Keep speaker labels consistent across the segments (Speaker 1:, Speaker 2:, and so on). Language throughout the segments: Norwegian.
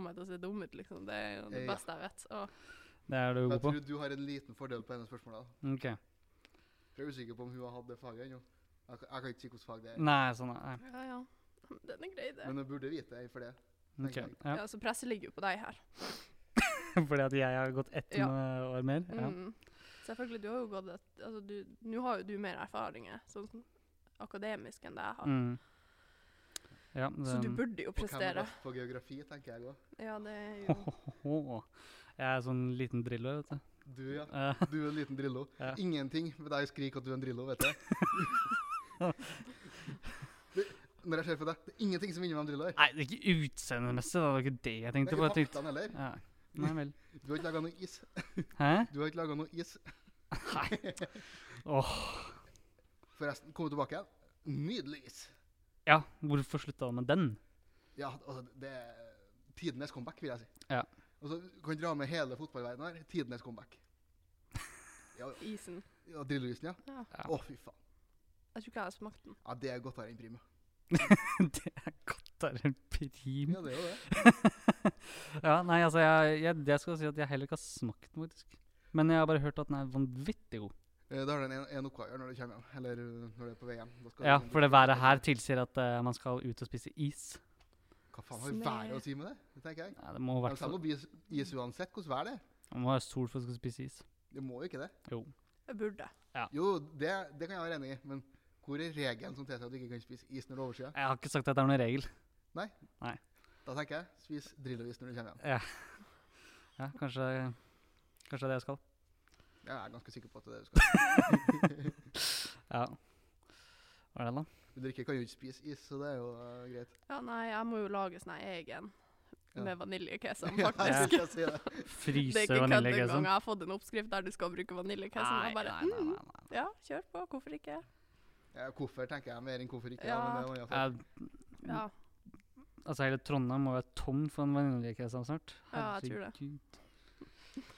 Speaker 1: meg til å se dum ut, liksom. Det er jo det
Speaker 2: Ja.
Speaker 1: beste jeg vet. Og
Speaker 3: Det er du
Speaker 2: Jeg
Speaker 3: god på?
Speaker 2: tror du har en liten fordel på ene spørsmålet.
Speaker 3: Ok.
Speaker 2: For Jeg er usikker på om hun har hatt det faget ennå. Jeg, kan- jeg kan ikke si hvilket fag det er.
Speaker 3: Nei, sånn er nei.
Speaker 1: ja, ja. Den er grei, det.
Speaker 2: Men hun burde vite det, for Sånn det.
Speaker 3: Ok,
Speaker 1: Ja.
Speaker 3: ja.
Speaker 1: så presset ligger jo på deg her.
Speaker 3: Fordi at jeg har gått ett
Speaker 1: Ja.
Speaker 3: med år mer? Ja.
Speaker 1: Mm. Selvfølgelig, du har jo gått et Altså, du Nå har jo du mer erfaringer, sånn som akademisk enn det jeg har.
Speaker 3: Mm. Ja, det,
Speaker 1: Så du burde jo
Speaker 2: Og hvem er
Speaker 1: prestere.
Speaker 2: best på geografi, tenker jeg òg.
Speaker 1: Ja, det er jo
Speaker 3: Hohoho. Jeg er sånn liten driller, vet du.
Speaker 2: Du, ja.
Speaker 3: Eh,
Speaker 2: Du er en liten Drillo.
Speaker 3: Ja.
Speaker 2: Ingenting med deg skriker at du er en Drillo, vet jeg. det, når jeg ser på deg, det er ingenting som minner meg om Drillo. her.
Speaker 3: nei, det er ikke utseendemessig, da. Det var ikke det jeg
Speaker 2: Det
Speaker 3: tenkte
Speaker 2: er
Speaker 3: på.
Speaker 2: ikke
Speaker 3: Jeg tenkte,
Speaker 2: faktaen heller.
Speaker 3: ja. Nei vel.
Speaker 2: Du har ikke laga noe is.
Speaker 3: Hæ?
Speaker 2: Du har ikke laget noe is.
Speaker 3: Nei. Åh.
Speaker 2: Forresten, kom tilbake igjen. Nydelig is.
Speaker 3: Ja, hvorfor slutta du med den?
Speaker 2: Ja, altså, det er tidenes comeback, vil jeg si.
Speaker 3: Ja.
Speaker 2: Og så kan du dra med hele fotballverdenen her. Tidenes comeback. Ja,
Speaker 1: isen.
Speaker 2: ja Drillo-isen, ja.
Speaker 1: Ja.
Speaker 3: Ja.
Speaker 2: Å, fy faen.
Speaker 1: Jeg tror ikke jeg har smakt den.
Speaker 2: Ja, det er godtere enn prima.
Speaker 3: det er godt å være en prim.
Speaker 2: Ja, det er jo det.
Speaker 3: Ja, nei, altså, jeg, jeg, det skal jeg si at jeg heller ikke har smakt den, faktisk. Men jeg har bare hørt at den er vanvittig god.
Speaker 2: Eh, Da har du en, en oppgave å gjøre når du kommer hjem, eller uh, når du er på vei hjem. Da skal du-
Speaker 3: Ja, for det været her tilsier at eh, man skal ut og spise is.
Speaker 2: Hva faen har
Speaker 1: Sne.
Speaker 2: været å si med det? Det tenker jeg.
Speaker 3: Nei, det må i
Speaker 2: Men
Speaker 3: hvert
Speaker 2: det må
Speaker 3: fall
Speaker 2: bli is uansett hvordan vær det er.
Speaker 3: Man må ha sol for å skal spise is.
Speaker 2: Det må jo ikke det.
Speaker 3: Jo.
Speaker 1: Jeg burde.
Speaker 2: Jo, det, det kan jeg være enig i, men hvor er regelen som tilsier at du ikke kan spise is når det er overskyet?
Speaker 3: Jeg har ikke sagt at det er noen regel.
Speaker 2: Da tenker jeg spis Drillo-is når du kommer hjem.
Speaker 3: Ja, kanskje, kanskje det er det jeg skal.
Speaker 2: Jeg er ganske sikker på at det er det du skal.
Speaker 3: Ja. Hva er det, da?
Speaker 2: Du drikker kan jo ikke spise is, så det er jo eh, greit.
Speaker 1: Ja, nei, jeg må jo lage sånn her egen
Speaker 2: Ja.
Speaker 1: med vaniljekesam,
Speaker 2: Ja,
Speaker 1: faktisk.
Speaker 2: jeg skal si det.
Speaker 1: Det
Speaker 3: Fryse
Speaker 1: er ikke kødd engang.
Speaker 3: vaniljekesam?
Speaker 1: Jeg har fått en oppskrift der du skal bruke vaniljekesam. Jeg bare mm,
Speaker 3: nei, nei.
Speaker 1: ja, kjør på, hvorfor ikke?
Speaker 2: Ja, hvorfor tenker jeg mer enn hvorfor ikke. Ja.
Speaker 1: Ja.
Speaker 2: men det er noe annet.
Speaker 3: Jeg,
Speaker 1: Ja,
Speaker 3: altså, hele Trondheim må være tom for en vaniljekesam snart.
Speaker 1: Ja, jeg tror det.
Speaker 3: Herregud.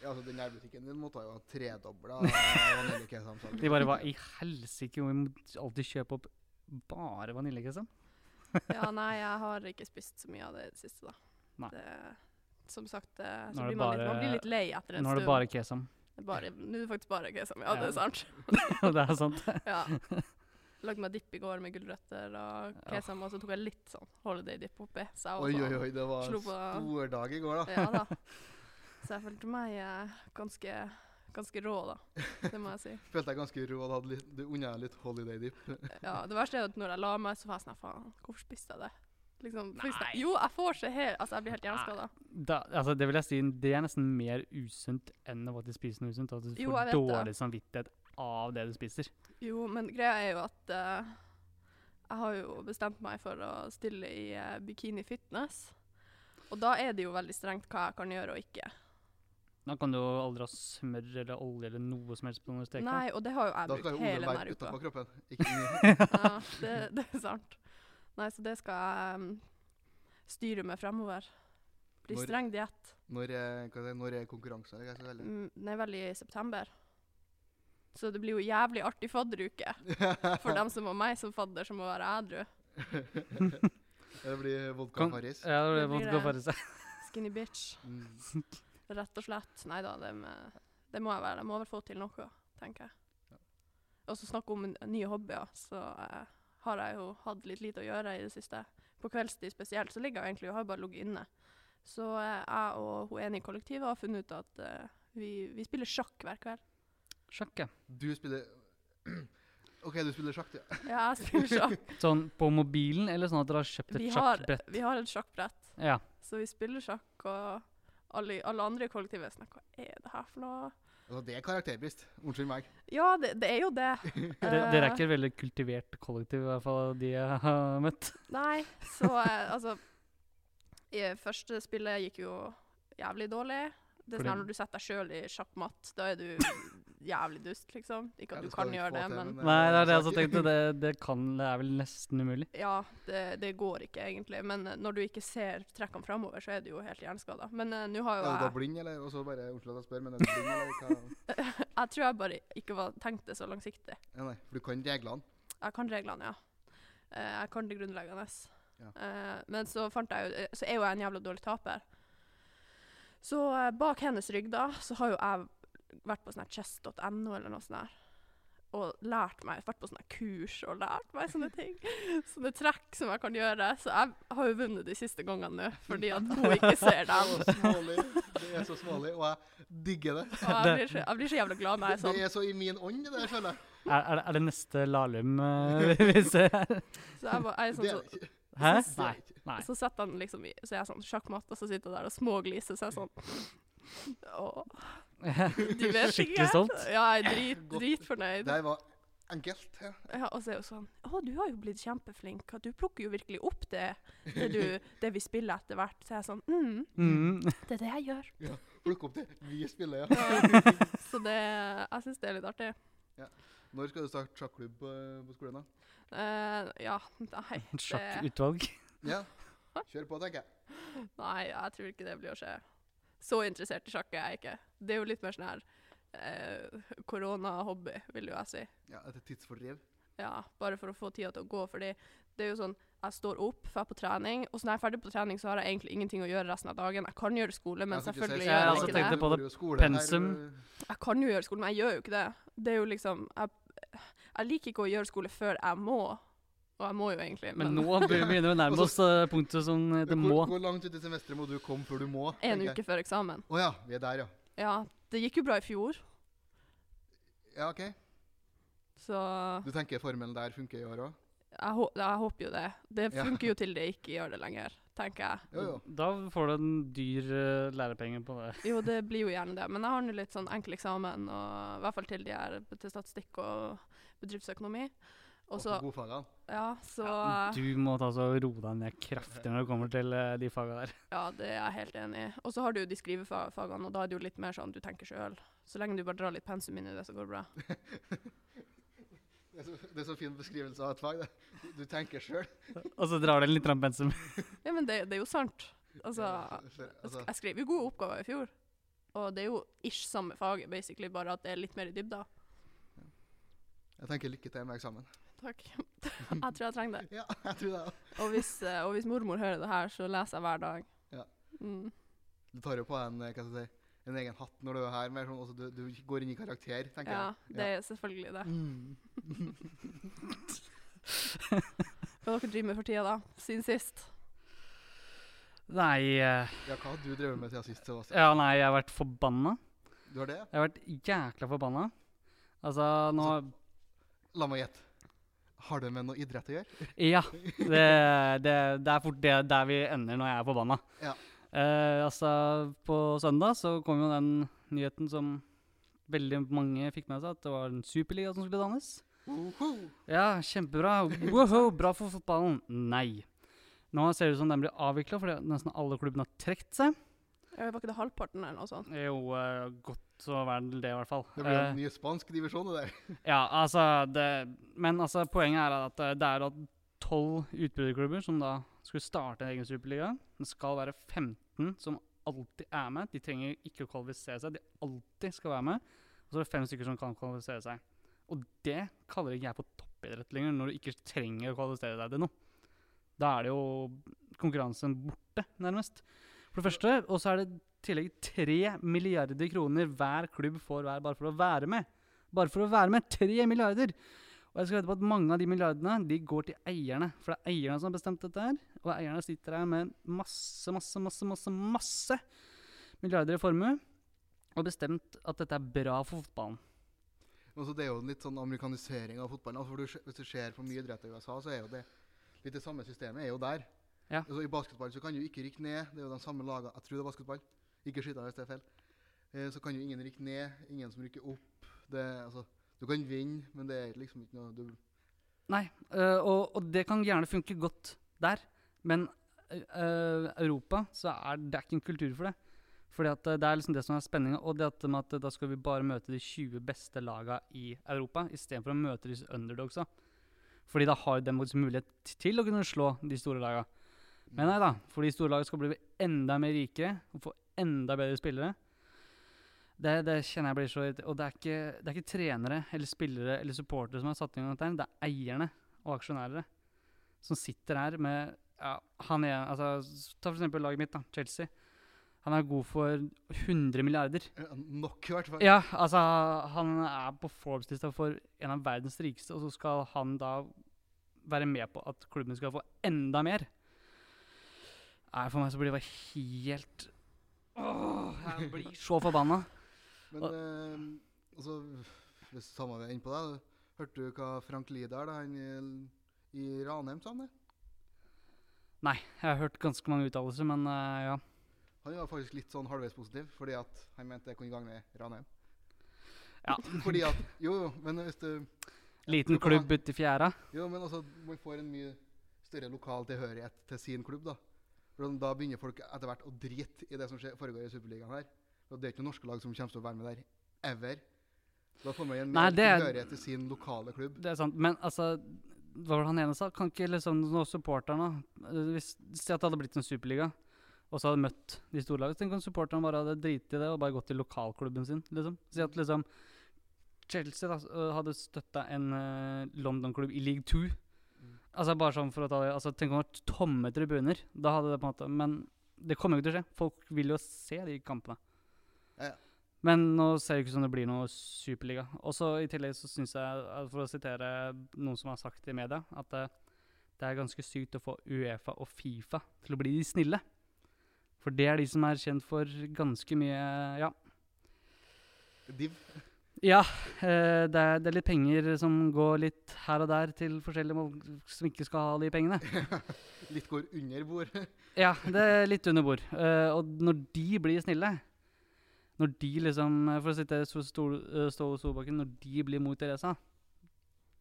Speaker 2: ja, altså, den nærbutikken din måtte jo ha tredobla vaniljekesam.
Speaker 3: De bare Hva i helsike, vi må alltid kjøpe opp bare vaniljekesam?
Speaker 1: ja, nei, jeg har ikke spist så mye av det i det siste, da.
Speaker 3: Nei.
Speaker 1: Det, som sagt, det,
Speaker 3: Nå
Speaker 1: så
Speaker 3: er det
Speaker 1: blir man, litt,
Speaker 3: bare-
Speaker 1: man blir litt lei etter en
Speaker 3: Nå er det
Speaker 1: stund.
Speaker 3: bare kesam.
Speaker 1: Det er bare, nå er det faktisk bare kesam. Ja,
Speaker 3: Ja.
Speaker 1: det er sant.
Speaker 3: det er sant.
Speaker 1: Ja. Lagde meg dipp i går med gulrøtter og kesam, og så tok jeg litt sånn holiday-dipp oppi. Så
Speaker 2: Oi,
Speaker 1: jeg
Speaker 2: oi,
Speaker 1: var
Speaker 2: oi, det var
Speaker 1: altså, Slo
Speaker 2: en
Speaker 1: på-
Speaker 2: stor dag i går, da.
Speaker 1: sånn Ja da. Så jeg følte meg eh, ganske, ganske rå, da. Det må jeg si.
Speaker 2: Følte jeg ganske rå og hadde litt, det unna jeg litt holiday dip.
Speaker 1: Ja, det verste er at når jeg la meg, så var jeg sånn Faen, hvorfor spiste jeg det? Liksom,
Speaker 3: Nei.
Speaker 1: først- Jo, jeg får så helt Altså, jeg blir helt hjerneskada.
Speaker 3: Da, altså, det vil jeg si, det er nesten mer usunt enn å faktisk spise noe usunt. At du
Speaker 1: Jo,
Speaker 3: får
Speaker 1: jeg vet det.
Speaker 3: dårlig samvittighet av det du spiser.
Speaker 1: Jo, men greia er jo at eh, jeg har jo bestemt meg for å stille i eh, bikini fitness. Og da er det jo veldig strengt hva jeg kan gjøre og ikke.
Speaker 3: Da kan du jo aldri ha smør eller olje eller noe som helst på når du steker.
Speaker 1: Nei, og det har jo jeg
Speaker 2: Da skal
Speaker 1: brukt
Speaker 2: jo oljen
Speaker 1: hele
Speaker 2: være
Speaker 1: denne uka.
Speaker 2: utenpå kroppen. Ikke inni.
Speaker 1: Ja, det, det er sant. Nei, så det skal jeg mm, styre med fremover. Blir
Speaker 2: Når-
Speaker 1: streng diett.
Speaker 2: Når, er- hva er det, når er konkurransen? eller hva skal jeg velge?
Speaker 1: Mm, Den er vel i september. Så det blir jo jævlig artig fadderuke. For dem som var meg som fadder, som må være ædru.
Speaker 2: Det blir vodka
Speaker 3: Kan-
Speaker 2: Farris.
Speaker 3: Ja, det
Speaker 1: Det
Speaker 3: måtte
Speaker 1: blir
Speaker 3: gå
Speaker 1: det.
Speaker 3: for seg.
Speaker 1: Skinny bitch.
Speaker 2: Mm.
Speaker 1: Rett og slett. Nei da, det, med- det må jeg være. Jeg må vel få til noe, tenker jeg. Og så snakke om n- nye hobbyer, så eh, har jeg jo hatt litt lite å gjøre i det siste. På kveldstid spesielt, så ligger jeg egentlig og har bare ligget inne. Så eh, jeg og hun ene i kollektivet har funnet ut at eh, vi, vi spiller sjakk hver kveld.
Speaker 3: Sjakk, ja.
Speaker 2: Du spiller OK, du spiller sjakk, ja.
Speaker 1: Ja, jeg spiller sjakk.
Speaker 3: Sånn på mobilen, eller sånn at dere har kjøpt et
Speaker 1: Vi har,
Speaker 3: sjakkbrett?
Speaker 1: vi har et sjakkbrett.
Speaker 3: Ja.
Speaker 1: Så vi spiller sjakk, og alle, alle andre i kollektivet snakker Hva er det her for noe?
Speaker 2: Altså, det er karakterbrist. Unnskyld meg.
Speaker 1: Ja, det, det er jo det.
Speaker 3: Dere, dere er
Speaker 1: Eh,
Speaker 3: ikke et veldig kultivert kollektiv, i hvert fall de jeg har møtt.
Speaker 1: Nei, så eh, altså i Første spillet gikk jo jævlig dårlig. Det er
Speaker 3: Fordi-
Speaker 1: sånn her Når du setter deg sjøl i sjakkmatt, da er du jævlig dust, liksom. Ikke
Speaker 2: Ja,
Speaker 1: at
Speaker 2: det
Speaker 1: du
Speaker 2: skal
Speaker 1: kan
Speaker 2: vi
Speaker 1: gjøre
Speaker 2: få
Speaker 1: det,
Speaker 2: til,
Speaker 1: men
Speaker 2: men, eh,
Speaker 3: Nei, det er det jeg også
Speaker 2: sjakk-
Speaker 3: tenkte. Det, det kan Det er vel nesten umulig.
Speaker 1: Ja, det, det går ikke egentlig. Men eh, når du ikke ser trekkene framover, så er du jo helt hjerneskada. Men eh, nå har jo
Speaker 2: Er du da
Speaker 1: jeg
Speaker 2: blind, eller? Og så bare Unnskyld at jeg spør, men er du blind, eller hva?
Speaker 1: Jeg tror jeg bare ikke var tenkt det så langsiktig.
Speaker 2: Ja, nei, for du kan reglene.
Speaker 1: Jeg kan reglene, ja. Eh, Jeg kan det grunnleggende.
Speaker 2: Ja.
Speaker 1: Eh, Men så fant jeg jo Så er jo jeg en jævla dårlig taper. Så eh, bak hennes rygg da, så har jo jeg vært på sånn her chess.no eller noe sånt her, og lært meg, vært på sånne her kurs og lært meg sånne ting. Sånne trekk som jeg kan gjøre. Så jeg har jo vunnet de siste gangene nå, fordi at hun ikke ser dem.
Speaker 2: Så smålig. Det er så smålig, og jeg digger det.
Speaker 1: Og jeg blir så, jeg blir så jævla glad når jeg er
Speaker 2: Det
Speaker 1: sånn.
Speaker 2: er så i min ånd, det der, føler jeg.
Speaker 3: Er, er, det- er det neste Lahlum eh, vi ser her?
Speaker 1: Så jeg, bare, jeg er
Speaker 2: Det
Speaker 1: sånn
Speaker 2: er
Speaker 1: så,
Speaker 2: det ikke.
Speaker 3: Hæ?
Speaker 2: Det er
Speaker 3: Nei.
Speaker 2: det ikke.
Speaker 3: Nei.
Speaker 1: Så setter han liksom i, så jeg er sånn sjakkmatt, og så sitter jeg der og smågliser, så jeg er sånn Åh, du vet ikke.
Speaker 3: Skikkelig stolt.
Speaker 1: Ja, jeg er drit,
Speaker 2: Godt.
Speaker 1: dritfornøyd.
Speaker 2: Det her var enkelt. Ja.
Speaker 1: Ja, og så er jo sånn Å, du har jo blitt kjempeflink, og du plukker jo virkelig opp det, det, du, det vi spiller etter hvert. Så jeg er sånn mm,
Speaker 3: Mm.
Speaker 1: det er det jeg gjør.
Speaker 2: Plukk opp det. Vi spiller, ja.
Speaker 1: Ja, så det Jeg syns det er litt artig.
Speaker 2: Når skal du starte sjakklubb på, på skolen, da?
Speaker 1: Eh, ja, nei det,
Speaker 3: Sjakkutvalg.
Speaker 2: Ja. Kjør på, tenker jeg.
Speaker 1: nei, jeg tror ikke det blir å skje. Så interessert i sjakk er jeg ikke. Det er jo litt mer sånn her eh, koronahobby, vil jo jeg si.
Speaker 2: Ja, Etter tidsfordriv.
Speaker 1: Ja, bare for å få tida til å gå, fordi det er jo sånn jeg står opp, drar på trening, og så når jeg er ferdig på trening, så har jeg egentlig ingenting å gjøre resten av dagen. Jeg kan gjøre skole, men
Speaker 2: Jeg kan ikke si
Speaker 1: selvfølgelig
Speaker 2: så
Speaker 1: gjør jeg
Speaker 3: Ja,
Speaker 2: mye,
Speaker 3: altså,
Speaker 1: ikke
Speaker 2: for
Speaker 1: det.
Speaker 3: tenkte
Speaker 2: du
Speaker 3: på
Speaker 2: går
Speaker 3: det.
Speaker 2: jo skole her, øh,
Speaker 3: Pensum.
Speaker 2: du-
Speaker 1: Jeg kan jo gjøre skole, men jeg gjør jo ikke det. Det er jo liksom Jeg, jeg liker ikke å gjøre skole før jeg må. Og jeg må jo egentlig,
Speaker 3: Men nå begynner vi å nærme oss eh, punktet som det
Speaker 2: Hvor,
Speaker 3: må.
Speaker 2: hvor langt ut i semesteret må du komme før du må?
Speaker 1: en
Speaker 2: tenker jeg.
Speaker 1: uke før eksamen.
Speaker 2: Å ja, vi er der, ja.
Speaker 1: Ja, det gikk jo bra i fjor,
Speaker 2: Ja, OK.
Speaker 1: så
Speaker 2: Du tenker formelen der funker i år òg?
Speaker 1: jeg, hå jeg håper jo det. Det
Speaker 2: Ja.
Speaker 1: funker jo til det ikke gjør det lenger, tenker jeg.
Speaker 2: Jo, jo.
Speaker 3: Da får du en dyr eh, lærepenge på det.
Speaker 1: Jo, det blir jo gjerne det, men jeg har nå litt sånn enkel eksamen, og, i hvert fall til, de her, til statistikk og bedriftsøkonomi. Og så,
Speaker 2: på godfagene.
Speaker 1: ja, så
Speaker 3: Du må ta så roe deg ned kraftig når det kommer til eh, de faga der.
Speaker 1: Ja, det er jeg helt enig i. Og så har du jo de skrivefagene, og da er det jo litt mer sånn du tenker sjøl. Så lenge du bare drar litt pensum inn i det, så går det bra.
Speaker 2: Det er, så, det er så fin beskrivelse av et fag. Det. Du tenker sjøl.
Speaker 3: Og så drar du en litt rann pensum.
Speaker 1: Ja, men det, det er jo sant. Altså,
Speaker 2: altså,
Speaker 1: jeg skrev jo gode oppgaver i fjor, og det er jo ish samme faget, basically, bare at det er litt mer i dybda.
Speaker 2: jeg tenker lykke til med eksamen.
Speaker 1: Takk. Jeg tror jeg trenger det.
Speaker 2: Ja, jeg tror det. også.
Speaker 1: Og hvis, eh, og hvis mormor hører det her, så leser jeg hver dag.
Speaker 2: Ja.
Speaker 1: Mm.
Speaker 2: Du tar jo på en, eh, hva skal jeg si, en egen hatt når du er her. Mer sånn, altså, du, du går inn i karakter, tenker
Speaker 1: Ja,
Speaker 2: jeg.
Speaker 1: det er selvfølgelig det.
Speaker 2: Mm.
Speaker 1: Hva dere driver med for tida, da? Siden sist?
Speaker 3: Nei eh,
Speaker 2: ja, hva har du drevet med siden sist, Sebastian?
Speaker 3: Ja, nei, jeg har vært forbanna.
Speaker 2: Du har det?
Speaker 3: Jeg har vært jækla forbanna. Altså, nå
Speaker 2: La meg gjette. Har det med noe idrett å gjøre?
Speaker 3: Ja. Det, det, det er fort det, der vi ender når jeg er forbanna.
Speaker 2: Ja.
Speaker 3: Eh, altså, på søndag så kom jo den nyheten som veldig mange fikk med seg, at det var en superliga som skulle dannes.
Speaker 2: Uhu.
Speaker 3: Ja, kjempebra. Woho, bra for fotballen. Nei. Nå ser det ut som den blir avvikla fordi nesten alle klubbene har trukket seg.
Speaker 1: Ja, Var ikke det halvparten eller noe sånt?
Speaker 3: Det er jo eh, godt å være det, i hvert fall.
Speaker 2: Det blir
Speaker 3: Eh,
Speaker 2: en ny spansk divisjon, det der.
Speaker 3: Ja, altså det, Men altså, poenget er at eh, det er da tolv utbryterklubber som da skulle starte en egen superliga. Det skal være 15 som alltid er med. De trenger ikke å kvalifisere seg. De alltid skal være med. Og så er det fem stykker som kan kvalifisere seg. Og det kaller ikke jeg på toppidrett lenger, når du ikke trenger å kvalifisere deg til noe. Da er det jo konkurransen borte, nærmest. For det første. Og så er det i tillegg tre milliarder kroner hver klubb får hver bare for å være med. Bare for å være med. Tre milliarder! Og jeg skal vite på at mange av de milliardene de går til eierne. For det er eierne som har bestemt dette her. Og eierne sitter her med masse, masse, masse, masse, masse milliarder i formue. Og bestemt at dette er bra for fotballen.
Speaker 2: Og så det er jo en litt sånn amerikanisering av fotballen. Altså, for du, se- hvis du ser på mye idrett i USA, så er jo det litt det samme systemet er jo der.
Speaker 3: Ja.
Speaker 2: Altså, I basketball så kan jo ikke rykke ned. Det er jo de samme lagene Jeg tror det er basketball. Ikke skyte hvis det er feil. Eh, så kan jo ingen rykke ned. Ingen som rykker opp. Det, altså, du kan vinne, men det er liksom ikke noe du,
Speaker 3: Nei, øh, og, og det kan gjerne funke godt der, men øh, Europa så er det er ikke en kultur for det. Fordi at øh, Det er liksom det som er spenninga, og det at, med at øh, da skal vi bare møte de 20 beste laga i Europa istedenfor å møte disse underdogsa. Fordi da har de faktisk mulighet t- til å kunne slå de store laga. Men nei da, for de store laga skal bli enda mer rikere og få enda bedre spillere. Det, det kjenner jeg blir så irrit- Og det er, ikke, det er ikke trenere eller spillere eller supportere som har satt inn i dette, her, det er eierne og aksjonærer som sitter her med ja, han er, altså, s- Ta for eksempel laget mitt, da, Chelsea. Han er god for 100 milliarder.
Speaker 2: Eh, Nok, i hvert fall.
Speaker 3: Ja, altså han er på Forbes-lista for en av verdens rikeste, og så skal han da være med på at klubben skal få enda mer. Nei, for meg så blir det bare helt Åh, jeg blir så forbanna.
Speaker 2: Men eh, altså, hvis samme vi er inne på det, hørte du hva Frank Lidahl, da, han i- i Ranheim, sa han det?
Speaker 3: Nei, jeg har hørt ganske mange uttalelser, men eh, ja.
Speaker 2: Han var faktisk litt sånn halvveis positiv, fordi at han mente jeg kunne gagne Ranheim.
Speaker 3: Ja.
Speaker 2: fordi at, jo, jo, men hvis du
Speaker 3: Liten
Speaker 2: tror på
Speaker 3: klubb uti fjæra.
Speaker 2: Jo, men altså, man får en mye større lokal tilhørighet til sin klubb, da. For sånn, Da begynner folk etter hvert å drite i det som skjer, foregår i Superligaen her. Og det er ikke noen norske lag som kommer til å være med der ever. Da får man en
Speaker 3: Nei,
Speaker 2: mer
Speaker 3: det er-
Speaker 2: tilhørighet til sin lokale klubb.
Speaker 3: Det er sant, men altså Hva var det han ene sa? Kan ikke liksom nå supporterne eh, hvis, Si at det hadde blitt en superliga, og så hadde møtt de store lagene. Tenk om supporterne bare hadde driti i det og bare gått til lokalklubben sin, liksom. Si at liksom Chelsea da, s- øh, hadde støtta en eh, London-klubb i league two. Altså bare sånn for å ta det altså, Tenk om det var tomme tribuner. Da hadde det på en måte Men det kommer jo ikke til å skje. Folk vil jo se de kampene.
Speaker 2: Ja, ja.
Speaker 3: Men nå ser det ikke ut som det blir noe superliga. Og så i tillegg så syns jeg, eh, for å sitere noen som har sagt i media, at eh, det er ganske sykt å få Uefa og Fifa til å bli de snille. For det er de som er kjent for ganske mye Ja,
Speaker 2: Div.
Speaker 3: ja eh, det, er, det er litt penger som går litt her og der til forskjellige folk som ikke skal ha de pengene.
Speaker 2: Litt går under bordet.
Speaker 3: Ja, det er litt under bord. Eh, og når de blir snille Når de liksom eh, For å sitte Ståle Stol, eh, Ståle Solbakken Når de blir mot Teresa,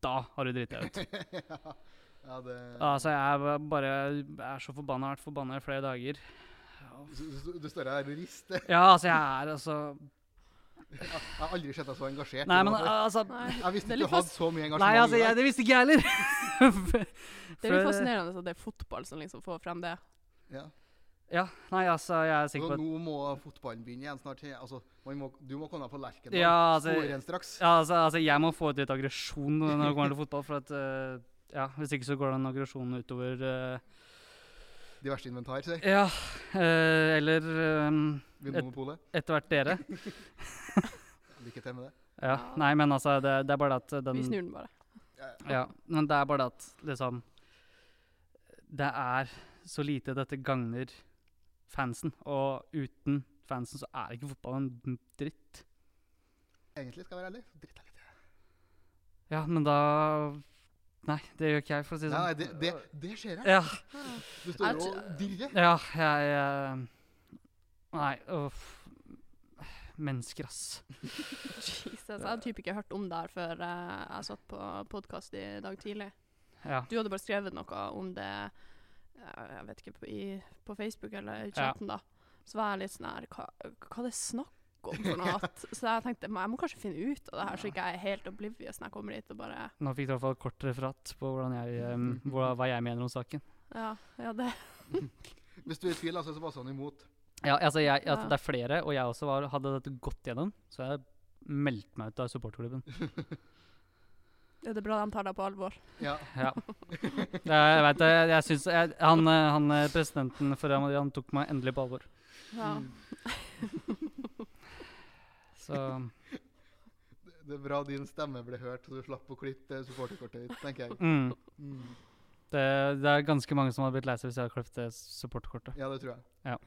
Speaker 3: da har du driti deg ut.
Speaker 2: ja, det
Speaker 3: Altså, jeg er bare jeg er så forbanna. Jeg har vært forbanna i flere dager.
Speaker 2: Du- Du du står her og rister.
Speaker 3: Ja, altså, jeg er altså
Speaker 2: Jeg har aldri sett deg så engasjert.
Speaker 3: Nei,
Speaker 2: i
Speaker 3: men
Speaker 2: noe før.
Speaker 3: altså
Speaker 1: Nei,
Speaker 2: jeg visste
Speaker 1: det er
Speaker 2: ikke
Speaker 1: litt
Speaker 2: du hadde
Speaker 1: fas-
Speaker 2: så mye engasjement.
Speaker 3: Nei, altså,
Speaker 2: i
Speaker 3: jeg,
Speaker 2: deg.
Speaker 3: det visste ikke jeg heller.
Speaker 1: Det er litt
Speaker 3: For-
Speaker 1: fascinerende at det er fotball som liksom får frem det.
Speaker 2: ja.
Speaker 3: Ja, nei, altså, jeg er
Speaker 2: Så
Speaker 3: sikker på at
Speaker 2: nå må fotballen begynne igjen snart. Altså, man må, du må komme deg på Lerkendal.
Speaker 3: Ja, altså,
Speaker 2: Store en straks.
Speaker 3: ja, altså, altså Jeg må få ut litt aggresjon når det kommer til fotball, for at eh, Ja, hvis ikke så går den aggresjonen utover eh,
Speaker 2: Diverse inventar, sier
Speaker 3: Ja, eh, eller ehm,
Speaker 2: Vinmonopolet.
Speaker 3: etter hvert dere.
Speaker 2: Lykke til med det.
Speaker 3: Ja,
Speaker 1: Ja.
Speaker 3: nei, men altså, det, det er bare det at den
Speaker 1: Vi snur den bare.
Speaker 3: Ja, men det er bare det at liksom Det er så lite dette gagner fansen, og uten fansen så er ikke fotball en dritt.
Speaker 2: Egentlig skal jeg være ærlig. Dritt er litt.
Speaker 3: Ja, men da Nei, det gjør ikke jeg, for å si det
Speaker 2: Nei,
Speaker 3: sånn.
Speaker 2: det, det, det skjer her.
Speaker 3: Ja,
Speaker 1: Ah,
Speaker 2: Du står jo
Speaker 1: Jeg
Speaker 2: og dirrer.
Speaker 3: ja jeg eh, Nei, uff. Mennesker, ass.
Speaker 1: Jesus, jeg hadde typ ikke hørt om det her før eh, jeg satt på podkast i dag tidlig.
Speaker 3: Ja.
Speaker 1: Du hadde bare skrevet noe om det eh, jeg vet ikke, på, i, på Facebook eller i chatten, da. Så var jeg litt sånn her Hva, hva det er snakk om for noe? at- Så jeg tenkte "Men jeg må kanskje finne ut av det her, så ikke jeg er helt oblivious når jeg kommer hit og bare
Speaker 3: Nå fikk du i hvert fall et kort referat på hvordan jeg, em, hva, hva jeg mener om saken.
Speaker 1: Ja, ja det
Speaker 2: Hvis du er i tvil, altså, så passer han imot.
Speaker 3: Ja, altså jeg, at
Speaker 1: Ja.
Speaker 3: Det er flere, og jeg også var, hadde dette gått gjennom, så jeg meldte meg ut av supporterklubben.
Speaker 1: Ja, det er bra de tar deg på alvor.
Speaker 2: Ja.
Speaker 3: Ja. Det, jeg vet, det, jeg synes, jeg, han, eh, han eh, presidenten for Real Madrid han tok meg endelig på alvor.
Speaker 1: Ja.
Speaker 3: Så
Speaker 2: Det er bra din stemme ble hørt, så du slapp å klippe det supporterkortet ditt, tenker jeg.
Speaker 3: mm,
Speaker 2: Mm.
Speaker 3: det, det er ganske mange som hadde blitt lei seg hvis jeg hadde klippet det supporterkortet.
Speaker 2: Ja, det tror jeg.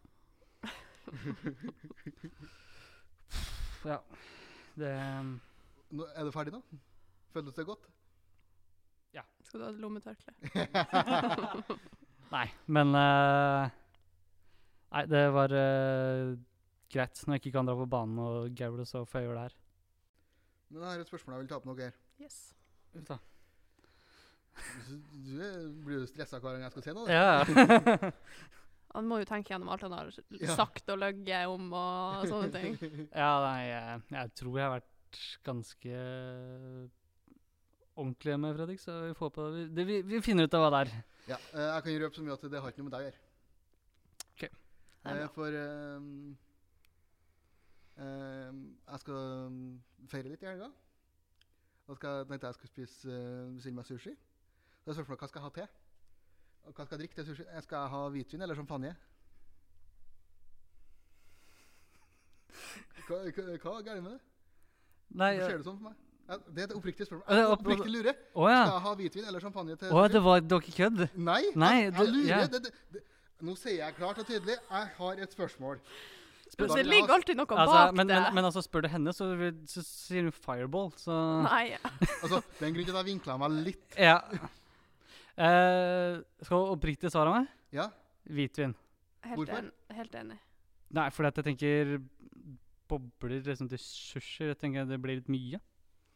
Speaker 3: Ja. Det,
Speaker 2: Nå, er du ferdig, da? Føltes det godt?
Speaker 1: Skal du ha et lommetørkle?
Speaker 3: nei, men eh, Nei, det var eh, greit når jeg ikke kan dra på banen og gaule, så får jeg gjøre det her.
Speaker 2: Men jeg har et spørsmål jeg vil ta opp noe her.
Speaker 1: Yes.
Speaker 2: Du, du er- blir jo stressa hver gang jeg skal si noe. da.
Speaker 3: Ja.
Speaker 1: Han må jo tenke gjennom alt han har
Speaker 2: Ja.
Speaker 1: sagt og løyet om og sånne ting.
Speaker 3: Ja, nei, jeg, jeg tror jeg har vært ganske ordentlig med Fredrik, så vi får på vi, det. Vi, vi finner ut av hva det er.
Speaker 2: Ja, eh, jeg kan røpe så mye at det har ikke noe med deg å gjøre.
Speaker 3: Ok.
Speaker 1: Det er
Speaker 2: Eh,
Speaker 1: bra.
Speaker 2: for ehm, ehm, jeg skal ehm, feire litt i helga. Da skal, jeg- tenkte jeg skulle spise eh, bestille meg sushi. Så jeg spurte hva skal jeg ha til. Og hva skal jeg drikke til sushi? Eh, Skal jeg ha hvitvin eller champagne? Hva, hva, hva er galt med det?
Speaker 3: Nei,
Speaker 2: Hvorfor
Speaker 3: eh,
Speaker 2: ser det sånn for meg? Ja, Det er et oppriktig spørsmål.
Speaker 3: Ja, det er
Speaker 2: Jeg
Speaker 3: opp-
Speaker 2: oppriktig lurer.
Speaker 3: Å ja.
Speaker 2: Skal jeg ha hvitvin eller champagne til
Speaker 3: Å, det var dere kødd?
Speaker 2: Nei,
Speaker 3: Nei,
Speaker 2: jeg,
Speaker 3: det-
Speaker 2: jeg lurer.
Speaker 3: ja.
Speaker 2: Det, det, det. Nå sier jeg klart og tydelig jeg har et spørsmål.
Speaker 1: Men
Speaker 2: Da
Speaker 1: det
Speaker 2: vil jeg
Speaker 1: ligger
Speaker 2: ha-
Speaker 1: alltid noe
Speaker 3: Altså,
Speaker 1: bak
Speaker 3: men, men,
Speaker 1: det.
Speaker 3: men altså, spør du henne, så, vil- så sier hun fireball, så
Speaker 1: Nei.
Speaker 2: altså, Det er en grunn til at jeg vinkla meg litt.
Speaker 3: Ja. Eh, skal du oppriktig svare meg?
Speaker 2: Ja,
Speaker 3: Hvitvin.
Speaker 1: Helt,
Speaker 2: Hvorfor?
Speaker 1: en, helt enig.
Speaker 3: Nei, fordi at jeg tenker bobler, liksom ressurser. Jeg tenker det blir litt mye.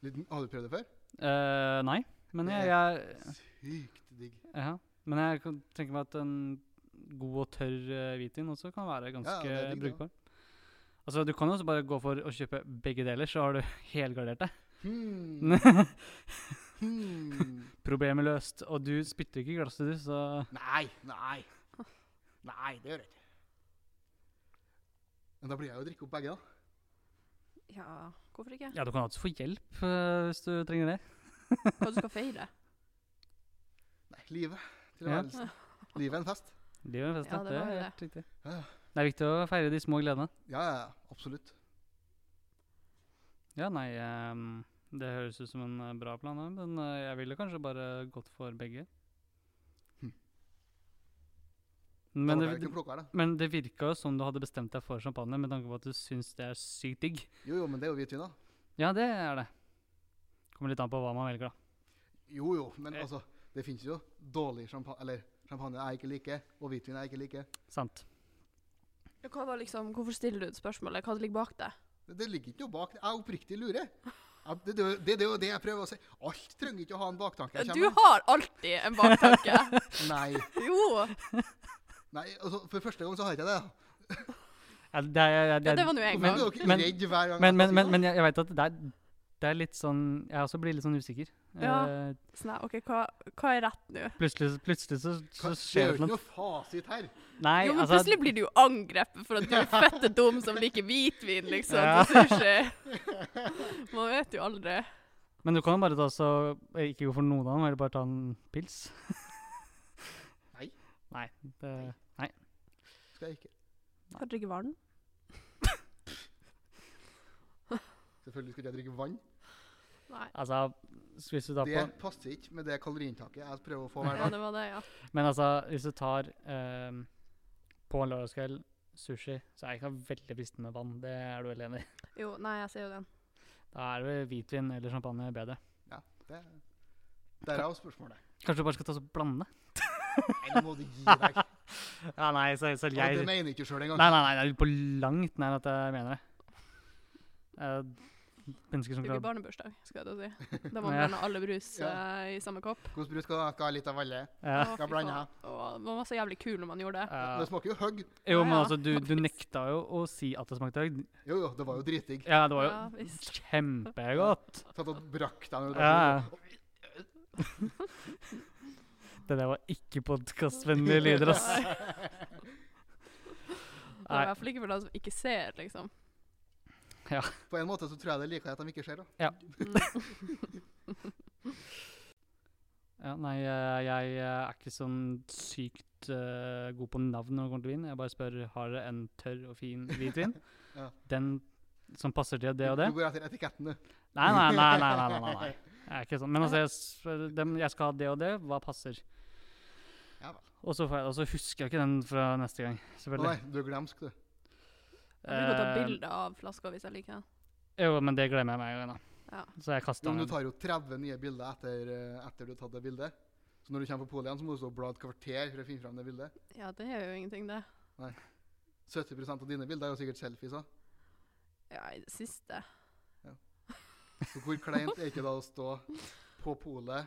Speaker 2: litt, Har du prøvd det før?
Speaker 3: Eh, nei, men jeg, jeg
Speaker 2: Sykt digg.
Speaker 3: ja. Men jeg kan tenke meg at en god og tørr eh, hvitvin også kan være ganske
Speaker 2: det er digg, det
Speaker 3: brukbar. Altså, Du kan jo også bare gå for å kjøpe begge deler, så har du helgardert deg.
Speaker 2: Hmm. Hmm.
Speaker 3: Problemet løst. Og du spytter ikke i glasset, du, så
Speaker 2: Nei, nei. Nei, det gjør jeg ikke. Men da blir jeg jo å drikke opp begge, da.
Speaker 1: Ja, hvorfor ikke?
Speaker 3: Ja, du kan alltid få hjelp eh, hvis du trenger det.
Speaker 1: Hva du skal feire?
Speaker 2: Nei, livet. Tilværelsen. Livet er en fest.
Speaker 3: Det er jo en fest,
Speaker 1: Ja,
Speaker 3: da.
Speaker 1: det var jo
Speaker 3: er
Speaker 1: det.
Speaker 3: helt riktig.
Speaker 2: Ja.
Speaker 3: Det er viktig å feire de små gledene.
Speaker 2: Ja, ja, ja, absolutt.
Speaker 3: Ja, nei ehm, Det høres ut som en eh, bra plan, da, men eh, jeg ville kanskje bare gått for begge.
Speaker 2: Hm. det,
Speaker 3: Men det,
Speaker 2: var ikke en klokke her, da.
Speaker 3: men det virka jo som du hadde bestemt deg for champagne, med tanke på at du syns det er sykt digg.
Speaker 2: Jo, jo, men det er jo hvitvin, da.
Speaker 3: Ja, det er det. Kommer litt an på hva man velger, da.
Speaker 2: Jo, jo, men
Speaker 3: Eh.
Speaker 2: altså, det finnes jo dårlig champagne Eller champagne jeg ikke liker, og hvitvin jeg ikke liker.
Speaker 3: Sant.
Speaker 1: Hva var liksom, hvorfor stiller du ut spørsmålet? Hva ligger bak det?
Speaker 2: Det, det ligger ikke noe bak. det. Jeg er oppriktig lurer. Jeg- Det, det, er jo- det, det er jo det jeg prøver å si. Alt trenger ikke å ha en baktanke. Jeg
Speaker 1: Du
Speaker 2: kommer-
Speaker 1: har alltid en baktanke.
Speaker 2: Nei.
Speaker 1: Jo.
Speaker 2: Nei, altså, for første gang så har jeg ikke det. da.
Speaker 3: Ja, det, er, jeg- jeg-
Speaker 1: Ja,
Speaker 3: jeg-
Speaker 1: det var nå jeg
Speaker 2: Hvorfor er
Speaker 1: mente.
Speaker 2: dere ikke
Speaker 3: men-
Speaker 2: redd hver gang?
Speaker 3: men, men,
Speaker 2: jeg
Speaker 3: men,
Speaker 2: sier
Speaker 3: men jeg, jeg veit at det er, det er litt sånn Jeg også blir litt sånn usikker.
Speaker 1: Ja.
Speaker 3: Eh,
Speaker 1: Så Nei, Sånn OK, hva, hva er rett nå?
Speaker 3: plutselig, plutselig så, så
Speaker 2: noe? Det er
Speaker 3: skjer
Speaker 2: jo
Speaker 3: det
Speaker 2: ikke
Speaker 3: noe.
Speaker 2: noe fasit her.
Speaker 3: Nei,
Speaker 1: Jo, men
Speaker 3: altså
Speaker 1: plutselig blir du jo angrepet for at du er fette dum som liker hvitvin, liksom,
Speaker 3: Ja.
Speaker 1: på sushi. Man vet jo aldri.
Speaker 3: Men du kan jo bare ta så eh, Ikke gå for noen av dem, eller bare ta en pils.
Speaker 2: Nei.
Speaker 3: Nei. Det,
Speaker 2: Skal jeg ikke.
Speaker 1: Kan du drikke vann?
Speaker 2: Selvfølgelig skulle jeg drikke vann.
Speaker 1: Nei.
Speaker 3: altså, s- hvis du tar på
Speaker 2: Det passer ikke med det kaloriinntaket jeg prøver å få hver
Speaker 1: Ja,
Speaker 2: dag.
Speaker 1: det var det, ja.
Speaker 3: Men altså, hvis du tar ehm, på en lørdagskveld sushi, så er ikke det veldig fristende med vann. Det er du vel enig i?
Speaker 1: Jo, nei, jeg ser jo den.
Speaker 3: Da er det hvitvin eller champagne bedre.
Speaker 2: Det, der er jo spørsmålet.
Speaker 3: Kanskje du bare skal ta så blande?
Speaker 2: Nei, nå må du gi deg.
Speaker 3: Ja, nei, så, så
Speaker 2: Og det
Speaker 3: jeg Nei,
Speaker 2: mener jeg ikke sjøl engang.
Speaker 3: nei, nei, det er på langt nær at jeg mener det. Eh, mennesker som
Speaker 1: Det blir
Speaker 3: klarer
Speaker 1: barnebursdag, skal jeg da si. Da må man
Speaker 3: Ja.
Speaker 1: blande alle brus
Speaker 2: Ja.
Speaker 1: eh, i samme kopp.
Speaker 2: Hvordan brus skal dere ha litt av alle?
Speaker 1: Å,
Speaker 3: ja.
Speaker 1: fy
Speaker 2: Skal blande.
Speaker 1: faen. Å, man var så jævlig kul når man gjorde det.
Speaker 3: eh,
Speaker 2: Det smaker jo hugg.
Speaker 3: Jo,
Speaker 1: Ja,
Speaker 3: men
Speaker 1: ja,
Speaker 3: altså, du, du nekta jo å si at det smakte høyt.
Speaker 2: Jo, jo, det var jo dritdigg.
Speaker 3: Ja, det var jo
Speaker 1: Ja, visst.
Speaker 3: kjempegodt.
Speaker 2: Satt og brakk deg når du
Speaker 3: Ja.
Speaker 2: drakk den.
Speaker 3: Det der var ikke podkastvennlige lyder, ass.
Speaker 1: Nei. Det var
Speaker 3: Nei.
Speaker 1: I hvert fall ikke for de som ikke ser, liksom.
Speaker 2: På en måte så tror jeg det er like greit at de ikke ser, da.
Speaker 3: Ja, nei, eh, jeg eh, er ikke sånn sykt eh, god på navn når det kommer til vin. Jeg bare spør har dere en tørr og fin hvitvin.
Speaker 2: Ja.
Speaker 3: Den som passer til det og det.
Speaker 2: Du går etter etiketten, du.
Speaker 3: Nei, nei, nei. nei, nei, nei, nei, nei. Jeg er ikke sånn. Men altså, jeg, s- dem, jeg skal ha det og det. Hva passer?
Speaker 2: Ja vel.
Speaker 3: Og så, får jeg, og så husker jeg ikke den fra neste gang,
Speaker 2: Å
Speaker 3: selvfølgelig.
Speaker 2: nei, du er glemsk, du.
Speaker 1: Jeg blir godt ta
Speaker 3: Eh,
Speaker 1: bilde av flaska hvis jeg liker den.
Speaker 3: Jo, men det glemmer jeg meg igjen, da.
Speaker 1: Ja.
Speaker 3: Så jeg
Speaker 2: Jo,
Speaker 3: kasta
Speaker 2: men du
Speaker 3: den.
Speaker 2: tar jo 30 nye bilder etter, eh, etter du har tatt det bildet. Så når du kommer på polet igjen, så må du stå og bla et kvarter for å finne fram det bildet.
Speaker 1: Ja, det gjør jo ingenting, det.
Speaker 2: 70 av dine bilder er jo sikkert selfies. da.
Speaker 1: Ja, i det siste.
Speaker 2: Så hvor kleint er ikke da å stå på polet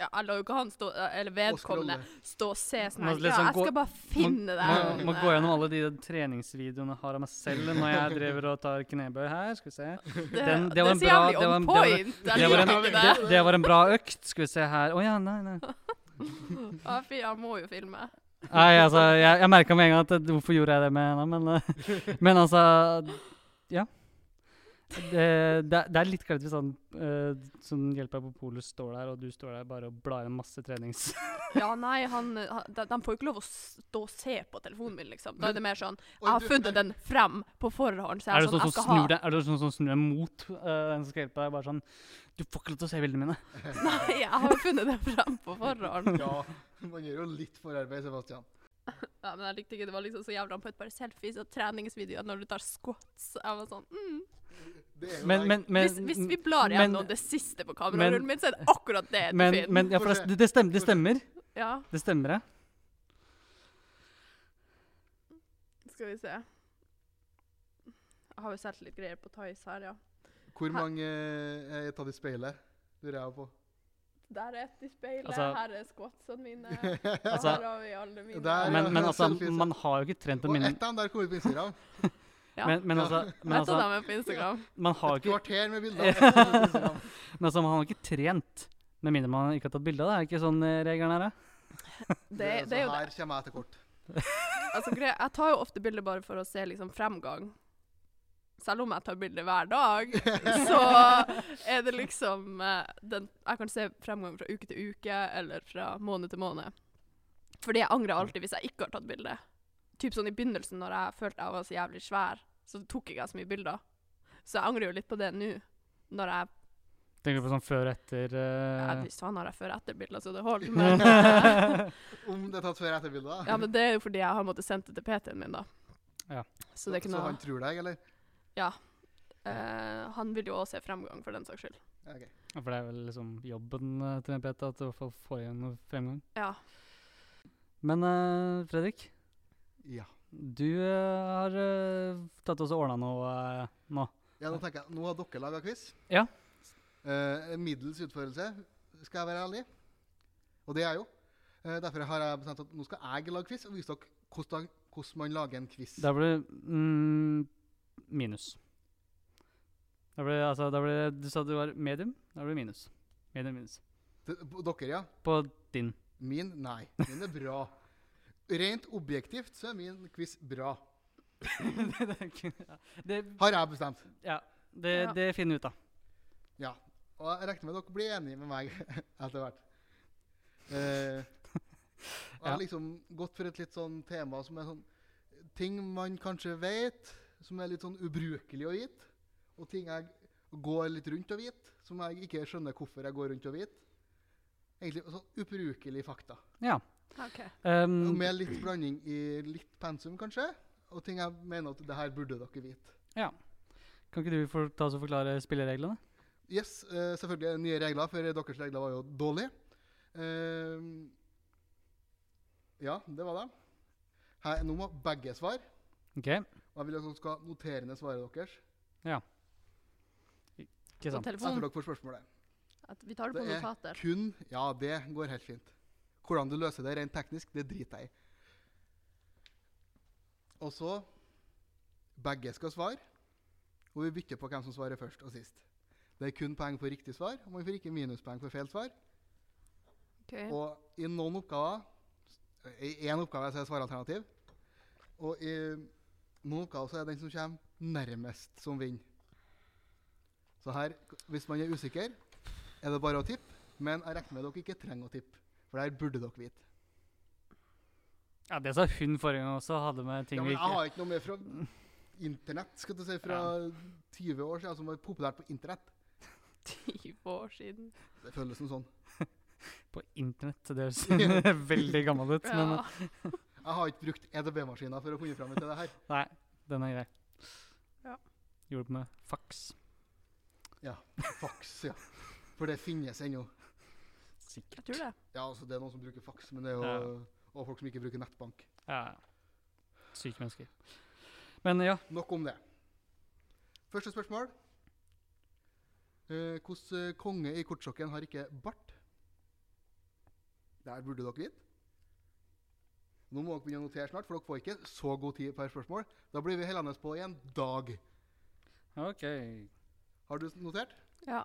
Speaker 1: Ja, jeg lar jo ikke han stå, eh, eller
Speaker 2: og
Speaker 1: vedkommende,
Speaker 2: scrolle?
Speaker 1: stå og se sånn
Speaker 3: Må
Speaker 1: her. Ja,
Speaker 3: liksom
Speaker 1: jeg
Speaker 3: gå-
Speaker 1: skal bare finne det her.
Speaker 3: Må, må gå gjennom alle de treningsvideoene jeg har av meg selv når jeg driver og tar knebøy her. Skal vi se.
Speaker 1: Det,
Speaker 3: Den- det
Speaker 1: det
Speaker 3: var
Speaker 1: er
Speaker 3: en
Speaker 1: så
Speaker 3: bra-
Speaker 1: jævlig
Speaker 3: det var en-
Speaker 1: on
Speaker 3: det var-
Speaker 1: point. Jeg
Speaker 3: det var
Speaker 1: liker
Speaker 2: en-
Speaker 1: ikke det.
Speaker 3: Det var en bra økt. Skal vi se her Å ja, nei, nei.
Speaker 1: Ja, fy, jeg må jo filme.
Speaker 3: Nei, altså, jeg, jeg merka med en gang at eh, hvorfor gjorde jeg det med henne, men, eh, men altså Ja. Det, det, er- det er litt kleint hvis han eh, som hjelper deg på polet, står der, og du står der bare og blar i en masse trenings...
Speaker 1: Ja, nei, han, han, de, de får jo ikke lov å stå og se på telefonen min, liksom. Da er det mer sånn Jeg har funnet den frem på forhånd, så jeg
Speaker 3: Er det
Speaker 1: er sånn, jeg
Speaker 3: sånn som
Speaker 1: skal ha
Speaker 3: snur deg, er det sånn som snur deg mot eh, den som skal hjelpe deg? Bare sånn Du får ikke lov til å se bildene mine.
Speaker 1: Nei, jeg har jo funnet den frem på forhånd.
Speaker 2: Ja, man gjør jo litt forarbeid, Sebastian.
Speaker 1: Ja, men jeg likte ikke det var liksom så jævla på et par selfies og treningsvideoer når du tar squats. Jeg var sånn, mm.
Speaker 2: Det er jo
Speaker 3: Men,
Speaker 2: deg.
Speaker 3: men, men,
Speaker 1: hvis, hvis vi blar
Speaker 3: men-
Speaker 1: gjennom det siste på
Speaker 3: men-
Speaker 1: kamerarullen min, så er det akkurat det du
Speaker 3: men,
Speaker 1: finner.
Speaker 3: men, ja, for det, det, stemmer, det stemmer.
Speaker 1: ja,
Speaker 3: Det stemmer, ja.
Speaker 1: skal vi se. Jeg har jo sett litt greier på Thais her, ja.
Speaker 2: Hvor mange eh, er tatt i speilet? Lurer jeg på.
Speaker 1: Der er et i speilet,
Speaker 3: Altså-
Speaker 1: her er squatsene mine. og
Speaker 3: Altså-
Speaker 1: her har vi alle mine.
Speaker 2: Der,
Speaker 3: Men,
Speaker 2: ja.
Speaker 3: men altså,
Speaker 2: Selfies, ja.
Speaker 3: man har jo ikke trent å
Speaker 2: Og
Speaker 3: minne
Speaker 2: ett av dem der kom ut på Instagram.
Speaker 1: Ja.
Speaker 3: men, men, altså, men,
Speaker 1: Jeg tok
Speaker 3: altså,
Speaker 1: dem med på Instagram.
Speaker 3: man har jo
Speaker 2: Et
Speaker 3: ikke
Speaker 2: kvarter med bilder. av dem på Instagram.
Speaker 3: Men altså, man har ikke trent. Med mindre man ikke har tatt bilde av det. Er det ikke sånn eh, regelen er? da?
Speaker 1: Det,
Speaker 2: altså,
Speaker 1: det er jo det.
Speaker 2: her kommer jeg til kort.
Speaker 1: Altså, greia, jeg tar jo ofte bilder bare for å se liksom, fremgang. Selv om jeg tar bilder hver dag, så er det liksom eh, den, Jeg kan se fremgang fra uke til uke eller fra måned til måned. Fordi jeg angrer alltid hvis jeg ikke har tatt bilde. Typ sånn I begynnelsen, når jeg følte jeg var så jævlig svær, så tok ikke jeg så mye bilder. Så jeg angrer jo litt på det nå. Når jeg
Speaker 3: Tenker du på sånn før og etter
Speaker 1: ja,
Speaker 3: eh,
Speaker 1: Hvis faen har jeg før- og etterbilder, så det holder. Men, eh,
Speaker 2: Om det er tatt før- og etterbilder.
Speaker 1: ja, men det er jo fordi jeg har måttet sendt det til PT-en min, da.
Speaker 3: Ja.
Speaker 1: Så det er ikke
Speaker 2: så
Speaker 1: noe
Speaker 2: han tror deg, eller?
Speaker 1: Eh, han vil jo også se fremgang, for den saks skyld.
Speaker 2: Ja, ok.
Speaker 3: ja, For det er vel liksom jobben eh, til en PT at du i hvert fall får igjen noe fremgang.
Speaker 1: Ja.
Speaker 3: Men eh, Fredrik,
Speaker 2: Ja.
Speaker 3: du eh, har eh, tatt oss og ordna noe eh, nå.
Speaker 2: ja, nå tenker jeg, nå har dere laga quiz.
Speaker 3: Ja.
Speaker 2: Eh, middels utførelse, skal jeg være ærlig. Og det er jeg jo. Eh, derfor har jeg bestemt at nå skal jeg lage quiz og vise dere hvordan, hvordan man lager en quiz.
Speaker 3: Da blir det mm, minus. Da blir det altså da blir det, Du sa du var medium. Da blir det minus. Medium minus.
Speaker 2: D- Dere, ja.
Speaker 3: På din.
Speaker 2: Min, nei. Min er bra. Rent objektivt så er min quiz bra,
Speaker 3: det, er ikke- ja. det,
Speaker 2: har jeg bestemt.
Speaker 3: det,
Speaker 1: Ja.
Speaker 3: det finner vi ut av.
Speaker 2: Ja. Og jeg regner med dere blir enige med meg etter hvert. Eh, og jeg
Speaker 3: Ja.
Speaker 2: har liksom gått for et litt sånn tema som er sånn Ting man kanskje vet, som er litt sånn ubrukelig å vite. Og ting jeg går litt rundt og vite, som jeg ikke skjønner hvorfor jeg går rundt og vite. Egentlig sånn ubrukelige fakta.
Speaker 3: Ja.
Speaker 1: Ok.
Speaker 3: Um,
Speaker 2: Og Med litt blanding i litt pensum, kanskje. Og ting jeg mener at det her burde dere vite.
Speaker 3: Kan ikke du for, ta oss og forklare spillereglene?
Speaker 2: Yes, eh, selvfølgelig er det nye regler, for deres regler var jo dårlige. Ehm, ja, det var det. Her, nå må begge svare. Og
Speaker 3: Ok,
Speaker 2: jeg vil at dere skal notere ned svaret deres.
Speaker 3: ikke
Speaker 1: På
Speaker 3: sant.
Speaker 2: Etter
Speaker 1: telefon.
Speaker 2: dere får spørsmålet.
Speaker 1: At vi tar det på
Speaker 2: Det er-
Speaker 1: notater.
Speaker 2: Kun Ja, det går helt fint. Hvordan du løser det rent teknisk, det driter jeg i. Og så Begge skal svare, og vi bytter på hvem som svarer først og sist. Det er kun poeng for riktig svar, og man får ikke minuspoeng for feil svar.
Speaker 1: Ok.
Speaker 2: Og i noen oppgaver I én oppgave så er det svaralternativ. Og i noen oppgaver så er det den som kommer nærmest, som vinner. Så her, hvis man er usikker, er det bare å tippe. Men jeg regner med dere ikke trenger å tippe, for det her burde dere vite.
Speaker 3: Ja, Det sa hun forrige gang også, hadde med ting
Speaker 2: Ja,
Speaker 3: vi
Speaker 2: men jeg
Speaker 3: ikke
Speaker 2: har ikke noe mer fra internett, skal du si, fra 20 år siden, som var populært på internett.
Speaker 1: Ti år siden.
Speaker 2: Det føles som sånn.
Speaker 3: På internett. så Det høres veldig gammel ut. Men
Speaker 1: Ja.
Speaker 2: Jeg har ikke brukt EDB-maskiner for å finne fram til det her.
Speaker 3: nei, den er grei.
Speaker 1: Ja.
Speaker 3: Gjorde det med faks.
Speaker 2: Faks, ja. For det finnes ennå.
Speaker 3: Sikkert.
Speaker 1: Jeg tror det.
Speaker 2: Ja, altså det er noen som bruker faks, men det er jo
Speaker 3: Ja.
Speaker 2: og folk som ikke bruker nettbank.
Speaker 3: Ja, ja. Syke mennesker. Men ja,
Speaker 2: Nok om det. Første spørsmål. Eh, Hvordan eh, konge i kortstokken har ikke bart? Der burde dere vite. Nå må dere begynne å notere snart, for dere får ikke så god tid per spørsmål. Da blir vi hellende på i en dag.
Speaker 3: OK.
Speaker 2: Har du s- notert?
Speaker 1: Ja.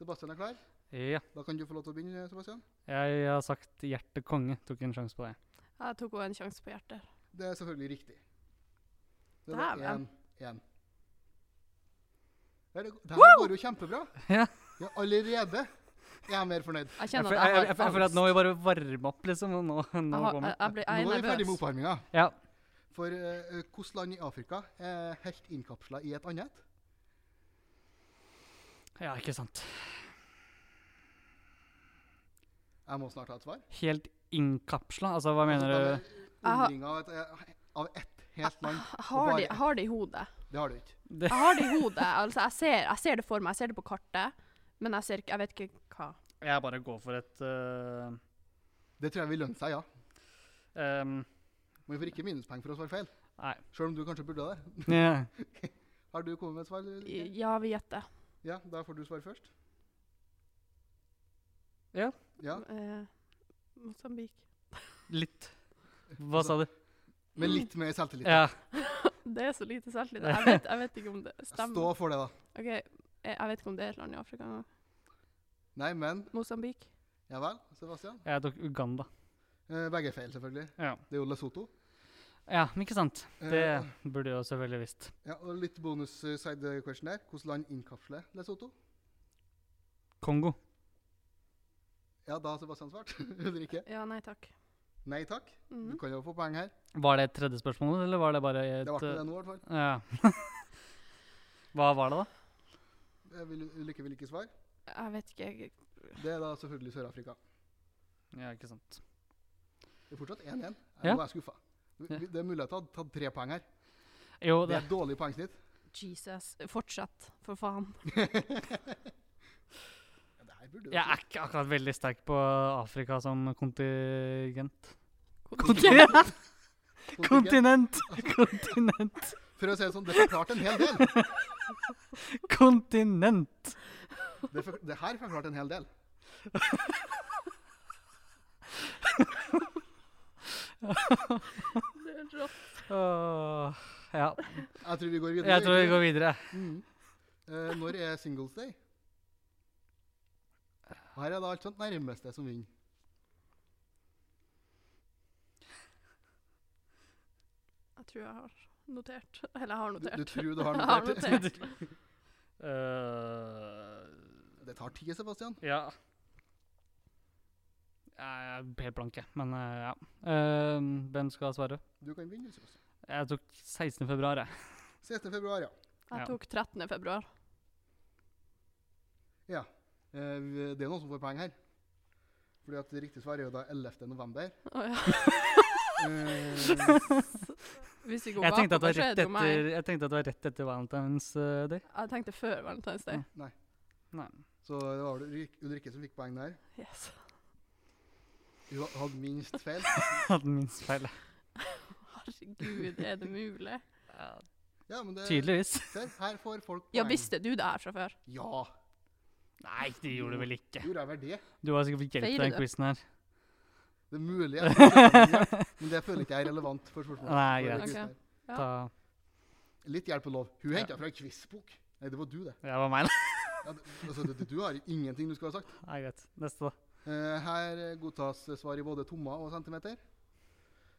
Speaker 2: Sebastian er klar?
Speaker 3: Ja.
Speaker 2: Da kan du få lov til å begynne, Sebastian.
Speaker 3: Jeg har sagt hjerte konge. Tok en sjanse på det.
Speaker 1: Jeg tok også en sjanse på hjertet.
Speaker 2: Det er selvfølgelig riktig. Det
Speaker 1: Dæven.
Speaker 2: én. Det, her- det her går jo kjempebra.
Speaker 3: Ja.
Speaker 2: Ja, allerede er jeg mer fornøyd.
Speaker 1: Jeg
Speaker 3: Jeg
Speaker 1: kjenner
Speaker 3: føler-
Speaker 1: at
Speaker 3: jeg-
Speaker 1: jeg
Speaker 3: jeg-
Speaker 1: har
Speaker 3: jeg føler at nå er vi bare varme opp, liksom. Og nå, nå
Speaker 1: Jeg, har,
Speaker 3: kommer
Speaker 1: jeg, jeg, blir-
Speaker 2: Nå
Speaker 1: jeg
Speaker 2: er vi
Speaker 1: er
Speaker 2: ferdig med
Speaker 1: nervøs.
Speaker 2: oppvarminga.
Speaker 3: Ja.
Speaker 2: For eh, hvilket land i Afrika er helt innkapsla i et annet?
Speaker 3: ja, ikke sant.
Speaker 2: Jeg må snart ha et svar.
Speaker 3: Helt innkapsla? Altså, hva mener du?
Speaker 1: Jeg har-
Speaker 2: Omringa av, et- eh, av ett helt land.
Speaker 1: Jeg har det- jeg har det i hodet.
Speaker 2: Det har du ikke.
Speaker 3: Det,
Speaker 1: Jeg har det i hodet. Altså, jeg ser, jeg ser det for meg, jeg ser det på kartet, men jeg, ser, ikke- jeg vet ikke hva.
Speaker 3: jeg bare går for et øh,
Speaker 2: Det tror jeg vil lønne seg, ja.
Speaker 3: ehm,
Speaker 2: Men vi får ikke minuspoeng for å svare feil.
Speaker 3: Nei.
Speaker 2: Sjøl om du kanskje burde det.
Speaker 3: Ja.
Speaker 2: Har du kommet med et svar? Ulrikke?
Speaker 1: Ja, vi gjetter.
Speaker 2: Ja, da får du svare først.
Speaker 3: Ja.
Speaker 2: Ja,
Speaker 1: Eh, Mosambik.
Speaker 3: Litt. Hå sa du?
Speaker 2: Med litt mer selvtillit.
Speaker 3: Ja.
Speaker 1: Det er så lite selvtillit. Jeg vet, jeg vet ikke om det
Speaker 2: Stå
Speaker 1: stemmer.
Speaker 2: for det, da.
Speaker 1: Ok, jeg, jeg vet ikke om det er et land i Afrika engang.
Speaker 2: Nei, men
Speaker 1: Mosambik.
Speaker 2: Ja vel, Sebastian.
Speaker 3: Jeg tok Uganda.
Speaker 2: Eh, begge er feil, selvfølgelig.
Speaker 3: Ja.
Speaker 2: Det er jo Lesotho.
Speaker 3: ja, men ikke sant?
Speaker 2: Eh,
Speaker 3: Det burde jeg jo selvfølgelig visst.
Speaker 2: ja, og litt bonus eh, side question her. Hvilket land innkapsler Lesotho?
Speaker 3: Kongo.
Speaker 2: Ja, da har Sebastian svart. Ulrikke?
Speaker 1: Ja, nei takk.
Speaker 2: Nei takk. Du
Speaker 1: Mhm.
Speaker 2: kan jo få poeng her.
Speaker 3: Var det et tredje spørsmål, eller var det bare
Speaker 2: Det
Speaker 3: et
Speaker 2: ble
Speaker 3: øh,
Speaker 2: det nå, i hvert fall.
Speaker 3: Ja. Hva var det, da?
Speaker 2: Eh, vil- Ulrikke vil ikke svare.
Speaker 1: Jeg vet ikke. jeg-
Speaker 2: Det er da selvfølgelig Sør-Afrika.
Speaker 3: Ja, ikke sant.
Speaker 2: Det er fortsatt 1-1.
Speaker 3: Ja.
Speaker 2: Nå er jeg skuffa. Vi-
Speaker 3: Ja.
Speaker 2: vi- Det er mulig at jeg hadde tatt tre poeng her.
Speaker 3: Jo,
Speaker 2: Det
Speaker 3: det
Speaker 2: er et dårlig poengsnitt.
Speaker 1: Jesus. Fortsett, for faen.
Speaker 2: Ja, det her burde jo
Speaker 3: Jeg er ikke akkurat veldig sterk på Afrika som kontingent.
Speaker 1: Kontinent.
Speaker 2: Kontingent.
Speaker 3: Kontinent! Kontinent!
Speaker 2: For å si det sånn, det forklarte en hel del.
Speaker 3: Kontinent!
Speaker 2: Det, for, det her forklarte en hel del.
Speaker 1: Det er rått.
Speaker 3: Åh, ja.
Speaker 2: Jeg tror vi går videre.
Speaker 3: Jeg tror vi går videre.
Speaker 1: Mm.
Speaker 2: Mhm. Eh, når er singles day? Og her er da alt sånt nærmeste som vinner.
Speaker 1: Jeg tror jeg har notert. Eller jeg har
Speaker 2: Du, du
Speaker 1: notert.
Speaker 2: tror du har
Speaker 1: Jeg har
Speaker 2: notert?
Speaker 1: notert.
Speaker 3: Øh,
Speaker 2: Det tar tid, Sebastian.
Speaker 3: ja. Jeg er helt blank, jeg. Men øh, ja. Øh, hvem skal svare?
Speaker 2: Du kan vinne. Sebastian.
Speaker 3: Jeg tok 16. februar, jeg.
Speaker 2: 16. februar, ja.
Speaker 3: Ja.
Speaker 1: Jeg tok 13. februar.
Speaker 2: Eh, vi- det er noen som får poeng her. Fordi at det riktige svaret er jo da 11. november.
Speaker 1: Å ja.
Speaker 2: Eh,
Speaker 1: Hvis vi går
Speaker 3: Jeg tenkte at
Speaker 1: bakover,
Speaker 3: det
Speaker 1: så
Speaker 3: var
Speaker 1: er
Speaker 3: rett
Speaker 1: det jo meg.
Speaker 3: etter, jeg tenkte at det var rett etter Valentine's øh, Day.
Speaker 1: Jeg tenkte før Valentine's Day.
Speaker 2: så det var Ulrik- Ulrikke som fikk poeng der.
Speaker 1: Yes.
Speaker 2: Hun hadde minst feil.
Speaker 3: Hadde minst feil.
Speaker 1: Herregud, er det mulig?
Speaker 3: Ja,
Speaker 2: Ja, men det,
Speaker 3: Tydeligvis.
Speaker 2: Se, her får folk
Speaker 1: Ja,
Speaker 2: poeng.
Speaker 1: visste du det her fra før?
Speaker 2: Ja,
Speaker 3: Nei, det gjorde du vel ikke.
Speaker 2: gjorde jeg vel det?
Speaker 3: Du har sikkert fått hjelp til
Speaker 1: Feirer
Speaker 3: den
Speaker 1: du?
Speaker 3: quizen her.
Speaker 2: Det er mulig. jeg får spørsmål, Men det føler ikke jeg er relevant for spørsmålet.
Speaker 3: Nei,
Speaker 2: For
Speaker 3: greit.
Speaker 2: quizen her.
Speaker 1: Ja.
Speaker 3: Ta,
Speaker 2: Litt hjelp og lov. Hun henta fra en quizbok. Nei, det var du, det.
Speaker 3: det var meg, da.
Speaker 2: Ja, det altså, det, du har ingenting du skulle ha sagt.
Speaker 3: Nei, greit. Neste, da.
Speaker 2: Eh, her eh, godtas eh, svar i både tommer og centimeter.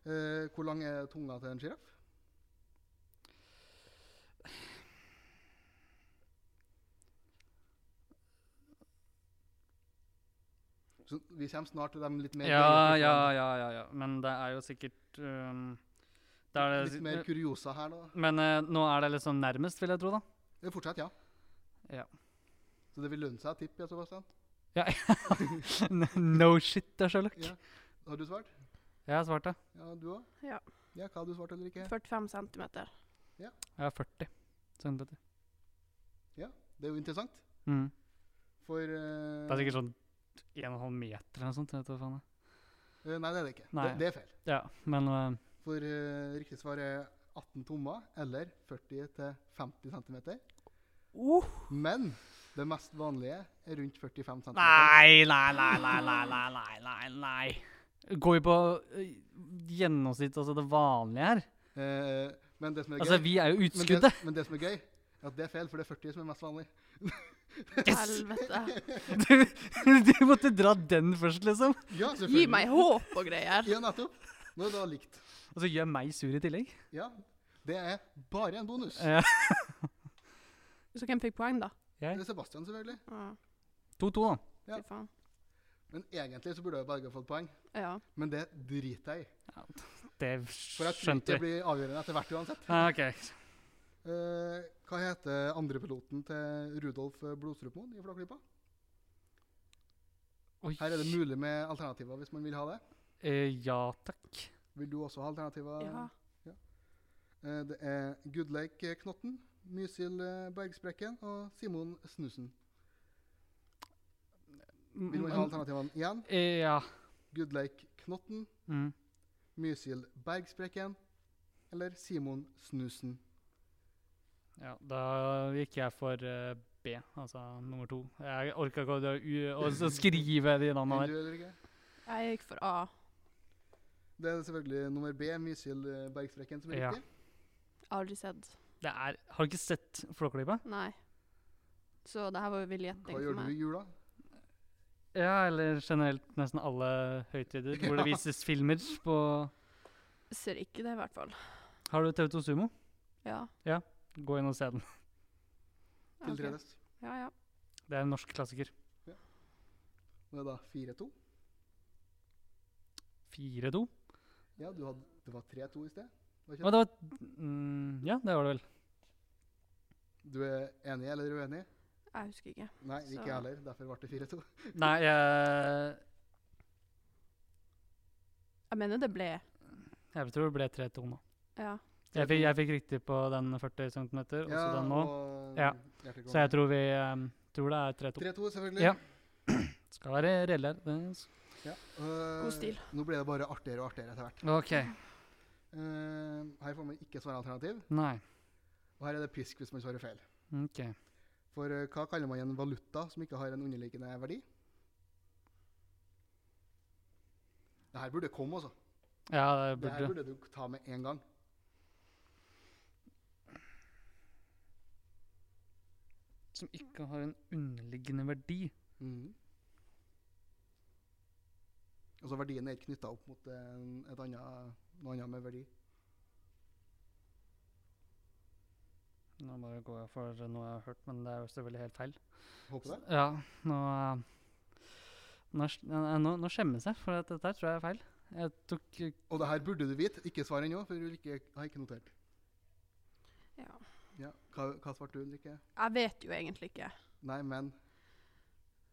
Speaker 2: Eh, hvor lang er tunga til en sjiraff? Så vi kommer snart til dem litt mer
Speaker 3: Ja,
Speaker 2: brede
Speaker 3: ja,
Speaker 2: spørsmålene.
Speaker 3: ja, ja, ja. Men det er jo sikkert um, det er det,
Speaker 2: Litt mer
Speaker 3: si-
Speaker 2: kuriosa her nå.
Speaker 3: Men eh, nå er det liksom nærmest, vil jeg tro, da.
Speaker 2: Eh, Fortsett, ja.
Speaker 3: Ja.
Speaker 2: Så det vil lønne seg å tippe, ja, Sebastian?
Speaker 3: no shit, det er Sherlock.
Speaker 2: Ja. Har du svart?
Speaker 3: Jeg svarte.
Speaker 2: Ja, du òg?
Speaker 1: Ja.
Speaker 2: ja. Hva har du svart eller ikke?
Speaker 1: 45 centimeter.
Speaker 3: Jeg er 40 centimeter.
Speaker 2: Det er jo interessant.
Speaker 3: Mm.
Speaker 2: For eh,
Speaker 3: Det er sikkert sånn 1,5 meter eller noe sånt. jeg Vet du hva faen det er.
Speaker 2: eh, Nei, det er det ikke. Det,
Speaker 3: Nei.
Speaker 2: det er feil.
Speaker 3: Ja, men eh,
Speaker 2: For eh, riktig svar er 18 tommer, eller 40-50 cm.
Speaker 3: Uh,
Speaker 1: Oh.
Speaker 2: Men det mest vanlige er rundt 45 cm.
Speaker 3: Nei, nei, nei, nei, nei, nei, nei, nei, nei. Går vi på eh, gjennomsnitt, altså det vanlige her?
Speaker 2: Eh, men det som er gøy
Speaker 3: Altså, vi er jo
Speaker 2: men, det,
Speaker 3: utskuddet.
Speaker 2: men det som er gøy, er at det er feil, for det er 40 som er mest vanlig.
Speaker 1: Helvete.
Speaker 3: Du, du måtte dra den først, liksom.
Speaker 2: Ja,
Speaker 1: Gi
Speaker 2: selvfølgelig.
Speaker 1: meg håp og greier.
Speaker 2: Ja, nettopp. Nå er det da likt.
Speaker 3: Og så gjør meg sur i tillegg. Eh.
Speaker 2: Ja, det er bare en bonus.
Speaker 3: Ja.
Speaker 1: Så hvem fikk poeng, da?
Speaker 2: Det
Speaker 3: Jeg?
Speaker 2: er Sebastian, selvfølgelig.
Speaker 3: 2-2, da.
Speaker 1: ja.
Speaker 2: Ja.
Speaker 1: Fy faen.
Speaker 2: Men egentlig så burde jeg bare fått poeng.
Speaker 1: Ja.
Speaker 2: Men det driter jeg i.
Speaker 3: Det
Speaker 2: For jeg tror ikke
Speaker 3: skjønte
Speaker 2: det
Speaker 3: vi.
Speaker 2: blir avgjørende etter hvert uansett.
Speaker 3: Ah, ok.
Speaker 2: Eh, hva heter andrepiloten til Rudolf Blodstrupmoen i Flåklypa?
Speaker 3: Oi.
Speaker 2: Her er det mulig med alternativer hvis man vil ha det.
Speaker 3: Eh, ja takk.
Speaker 2: Vil du også ha alternativer?
Speaker 1: ja.
Speaker 2: Eh, det er Gudleik Knotten, Mysil eh, Bergsprekken og Simon Snusen.
Speaker 1: Mm.
Speaker 2: Vil man ha alternativene igjen?
Speaker 3: Mm, Eh, ja.
Speaker 2: Gudleik Knotten,
Speaker 3: Mm.
Speaker 2: Mysil Bergsprekken eller Simon Snusen?
Speaker 3: ja. Da gikk jeg for eh, B, altså nummer to. Jeg orka ikke å, å- å å skrive de
Speaker 2: Vil
Speaker 3: navnene der.
Speaker 2: du eller ikke?
Speaker 1: Jeg gikk for A.
Speaker 2: Det er selvfølgelig nummer B, Mysil eh, Bergsprekken, som er
Speaker 3: Ja.
Speaker 2: riktig.
Speaker 1: Aldri sett.
Speaker 3: Det er, har du ikke sett Flåklypa?
Speaker 1: Nei. Så det her var jo vill gjetting
Speaker 2: Hva
Speaker 1: for
Speaker 2: gjør du
Speaker 1: meg.
Speaker 2: i jula?
Speaker 3: Ja, eller generelt nesten alle høytider hvor det vises filmer på
Speaker 1: Ser ikke det, i hvert fall.
Speaker 3: Har du TV2 Sumo?
Speaker 1: Ja.
Speaker 3: Gå inn og se den.
Speaker 1: ok.
Speaker 2: Tiltredes.
Speaker 1: Ja, ja.
Speaker 3: Det er en norsk klassiker.
Speaker 2: Det er da 4-2.
Speaker 3: 4-2.
Speaker 2: Ja, du hadde, det var 3-2 i sted. Var
Speaker 3: Og
Speaker 2: ikke det?
Speaker 3: det var mm, Ja, det var det vel.
Speaker 2: Du er enig eller uenig?
Speaker 1: Jeg husker ikke.
Speaker 2: Nei, ikke
Speaker 1: Så-
Speaker 2: jeg heller. Derfor ble det 4-2.
Speaker 3: Nei, jeg,
Speaker 1: Jeg mener det ble.
Speaker 3: jeg tror det ble 3-2 nå.
Speaker 1: Ja.
Speaker 3: Jeg fikk, jeg fikk riktig på den 40 cm, også den nå.
Speaker 2: og
Speaker 3: Ja.
Speaker 2: hjerteklokken.
Speaker 3: Så jeg tror vi em, tror det er 3-2.
Speaker 2: 3-2, selvfølgelig.
Speaker 3: Ja. Skal være reelle her. Det s-
Speaker 2: Ja, øh,
Speaker 1: God stil.
Speaker 2: Nå ble det bare artigere og artigere etter hvert.
Speaker 3: OK.
Speaker 2: Eh, her får man ikke svare alternativ,
Speaker 3: Nei.
Speaker 2: og her er det pisk hvis man svarer feil.
Speaker 3: OK.
Speaker 2: For eh, hva kaller man en valuta som ikke har en underliggende verdi? Det her burde komme, altså.
Speaker 3: Ja, det
Speaker 2: Det her
Speaker 3: burde
Speaker 2: burde du ta med en gang.
Speaker 3: Som ikke har en underliggende verdi.
Speaker 2: Mhm. Altså verdien er ikke knytta opp mot en, et annet, noe annet med verdi.
Speaker 3: Nå bare går jeg for noe jeg har hørt, men det er jo selvfølgelig helt feil.
Speaker 2: Håper det.
Speaker 3: Ja, nå eh, Nå, sk- eh, nå, nå skjemmes jeg, for at dette her tror jeg er feil. Jeg tok eh,
Speaker 2: Og det her burde du vite. Ikke svar ennå, for Ulrikke har ikke notert.
Speaker 1: ja.
Speaker 2: Ja. Hva, hva svarte du, Ulrikke?
Speaker 1: Jeg vet jo egentlig ikke,
Speaker 2: Nei, men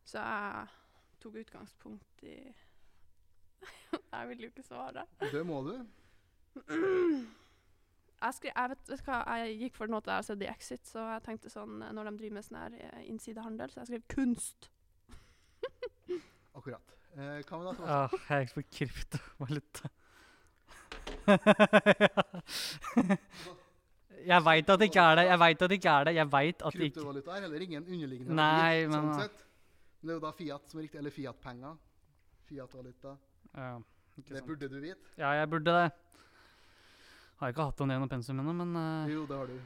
Speaker 1: så jeg tok utgangspunkt i Jeg vil jo ikke svare.
Speaker 2: det må du.
Speaker 1: Jeg, skre, jeg, vet, vet du hva, jeg gikk for noe jeg har sett i Exit, så jeg tenkte sånn eh, når de driver med sånn her eh, innsidehandel, så jeg skrev kunst.
Speaker 2: Akkurat. Eh, hva med da? Sebastian?
Speaker 3: ah, Jeg gikk for kryptovaluta. jeg veit at det ikke er det. Jeg veit at det ikke er det. Jeg veit at det ikke
Speaker 2: Kryptovaluta er heller ingen underliggende
Speaker 3: Nei,
Speaker 2: verdi.
Speaker 3: men-
Speaker 2: sånn sett. Men det er jo da Fiat som er riktig. Eller Fiat-penger. Fiat-valuta.
Speaker 3: ja, ikke
Speaker 2: Det
Speaker 3: sant.
Speaker 2: burde du vite.
Speaker 3: ja, jeg burde det. Har ikke hatt om det gjennom pensum ennå, men eh,
Speaker 2: Jo, det har du.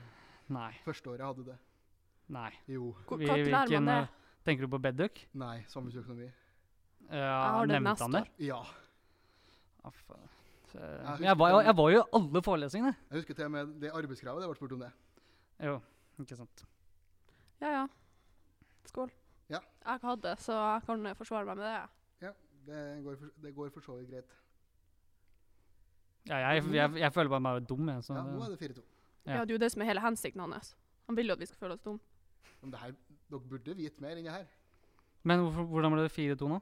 Speaker 3: nei.
Speaker 2: Første året hadde du det.
Speaker 3: Nei.
Speaker 2: Jo.
Speaker 1: Hvor-
Speaker 3: Vi-
Speaker 1: Når lærer
Speaker 3: hvilken,
Speaker 1: man det?
Speaker 3: eh, Tenker du på Bedduck?
Speaker 2: Nei, samfunnsøkonomi.
Speaker 3: Ja,
Speaker 1: har det
Speaker 3: nevnte
Speaker 1: neste
Speaker 3: han det?
Speaker 1: år.
Speaker 2: Ja.
Speaker 3: Ja, faen. Så-
Speaker 2: Jeg
Speaker 3: Jeg var,
Speaker 2: husker
Speaker 3: jo-
Speaker 2: den-
Speaker 3: jeg var jo i alle forelesningene.
Speaker 2: Jeg husker til og med det arbeidskravet det ble spurt om det.
Speaker 3: Jo, ikke sant.
Speaker 1: Ja ja. Skål.
Speaker 2: Ja.
Speaker 1: Jeg har ikke hatt det, så jeg kan eh, forsvare meg med det.
Speaker 2: Ja, det går for, det går for så vidt greit.
Speaker 3: Ja, jeg, jeg, jeg føler bare meg dum. Jeg, så
Speaker 2: Ja, nå
Speaker 3: det,
Speaker 2: er det 4-2.
Speaker 3: Ja.
Speaker 1: Ja. det er jo det som er hele hensikten hans. Han vil jo at vi skal føle oss dumme.
Speaker 2: Men det her, dere burde vite mer enn det her.
Speaker 3: men hvorfor, hvordan ble det 4-2 nå?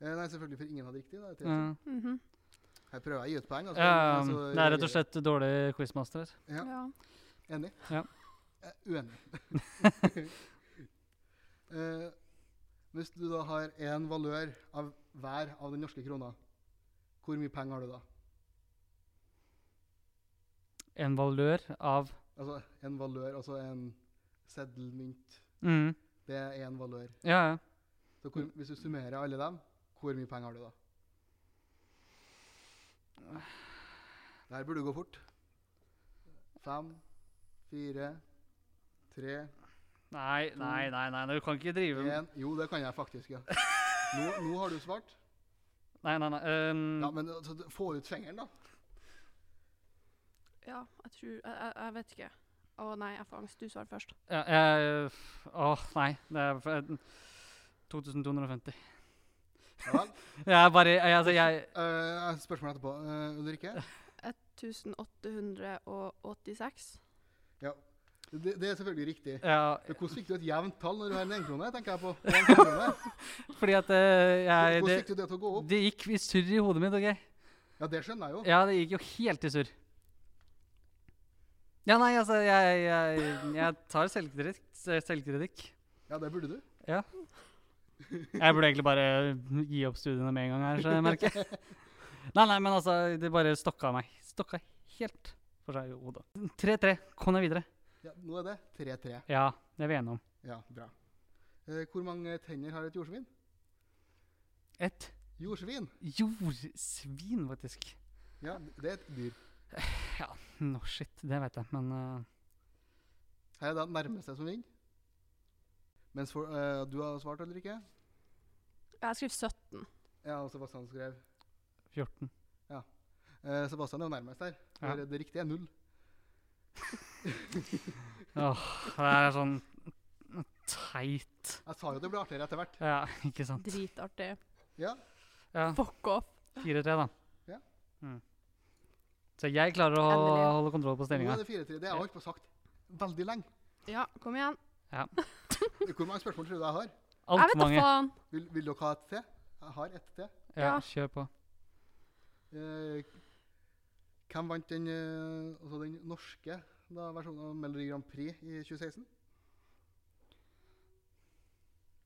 Speaker 2: Eh, nei, selvfølgelig, for ingen hadde riktig. Da. Det er 3-2.
Speaker 3: Ja.
Speaker 1: Mhm.
Speaker 2: Her prøver jeg å gi ut poeng. altså,
Speaker 3: Mm. Ja,
Speaker 2: men så
Speaker 3: det er rett
Speaker 2: reagerer
Speaker 3: og slett dårlig quizmaster. her.
Speaker 2: Ja.
Speaker 1: ja.
Speaker 2: jeg. Enig?
Speaker 3: Ja.
Speaker 2: Eh, uenig. eh, hvis du da har én valør av hver av den norske krona, hvor mye penger har du da?
Speaker 3: En valør av
Speaker 2: Altså en valør, altså en seddelmynt.
Speaker 3: mm,
Speaker 2: Det er én valør.
Speaker 3: Ja, ja.
Speaker 2: Så hvor,
Speaker 3: Mm.
Speaker 2: hvis du summerer alle dem, hvor mye penger har du da? Det her burde gå fort. Fem, fire, tre
Speaker 3: Nei, nei, nei, nei, du kan ikke drive med
Speaker 2: en. Jo, det kan jeg faktisk, ja. Nå, nå har du svart.
Speaker 3: Nei, nei, nei. øhm,
Speaker 2: Ja, men altså, d- få ut fingeren, da.
Speaker 1: Ja, jeg tror jeg, jeg, jeg vet ikke. Å nei, jeg får angst. Du svarer først.
Speaker 3: Ja, jeg Åh, nei. Det er for- 2250.
Speaker 2: Ja vel.
Speaker 3: Jeg bare jeg, altså, jeg,
Speaker 2: Eh, jeg har et spørsmål etterpå. Eh, Ulrikke?
Speaker 1: 1886.
Speaker 2: Det, det er selvfølgelig riktig.
Speaker 3: ja,
Speaker 2: Men hvordan fikk du et jevnt tall når du har en enkrone? tenker jeg på. Det er en enkrone.
Speaker 3: Fordi at eh, jeg
Speaker 2: Hvordan
Speaker 3: det,
Speaker 2: fikk du det til å gå opp?
Speaker 3: det gikk i surr i hodet mitt. ok?
Speaker 2: Ja, det skjønner jeg jo.
Speaker 3: Ja, det gikk jo helt i surr. Ja, nei, altså Jeg, jeg, jeg tar selvkritikk. selvkritikk.
Speaker 2: Ja, det burde du.
Speaker 3: Jeg burde egentlig bare gi opp studiene med en gang her, så jeg merker. Nei, nei, men altså, det bare stokka meg. Stokka helt for seg i hodet. 3-3. Kom deg videre.
Speaker 2: Ja, nå er det 3-3.
Speaker 3: Ja, det er vi enige om.
Speaker 2: Ja, bra. Eh, hvor mange tenner har et jordsvin?
Speaker 3: Et
Speaker 2: Jordsvin?
Speaker 3: jordsvin, faktisk.
Speaker 2: Ja, det er et dyr.
Speaker 3: Ja, no shit, det vet jeg, men eh,
Speaker 2: Her er det nærmeste som vinner. Mens for, eh, du har svart, Ulrikke?
Speaker 1: Jeg skriver 17.
Speaker 2: Ja, og Sebastian skrev.
Speaker 3: 14.
Speaker 2: Eh, Sebastian er jo nærmest her.
Speaker 3: Ja.
Speaker 2: Det, det riktige er null.
Speaker 3: Åh, det er sånn teit.
Speaker 2: Jeg sa jo det ble artigere etter hvert.
Speaker 3: Ja, ikke sant.
Speaker 1: Dritartig.
Speaker 2: Ja,
Speaker 3: Ja,
Speaker 1: Fuck off.
Speaker 3: 4-3, da.
Speaker 2: Ja.
Speaker 3: Mm. Så jeg klarer å
Speaker 1: Endelig.
Speaker 3: holde kontroll på
Speaker 2: nå
Speaker 3: stillinga.
Speaker 2: er det 4-3. Det har jeg holdt på sagt veldig lenge.
Speaker 1: Ja, kom igjen.
Speaker 2: Hvor mange spørsmål tror du jeg har?
Speaker 1: Jeg
Speaker 3: Altfor
Speaker 1: vet da
Speaker 3: mange.
Speaker 1: faen.
Speaker 2: Vil, vil dere ha et til? Jeg har et til.
Speaker 3: Ja,
Speaker 1: Ja.
Speaker 3: kjør på.
Speaker 2: Eh, hvem vant den, eh, altså den norske da, versjonen av Melodi Grand Prix i 2016?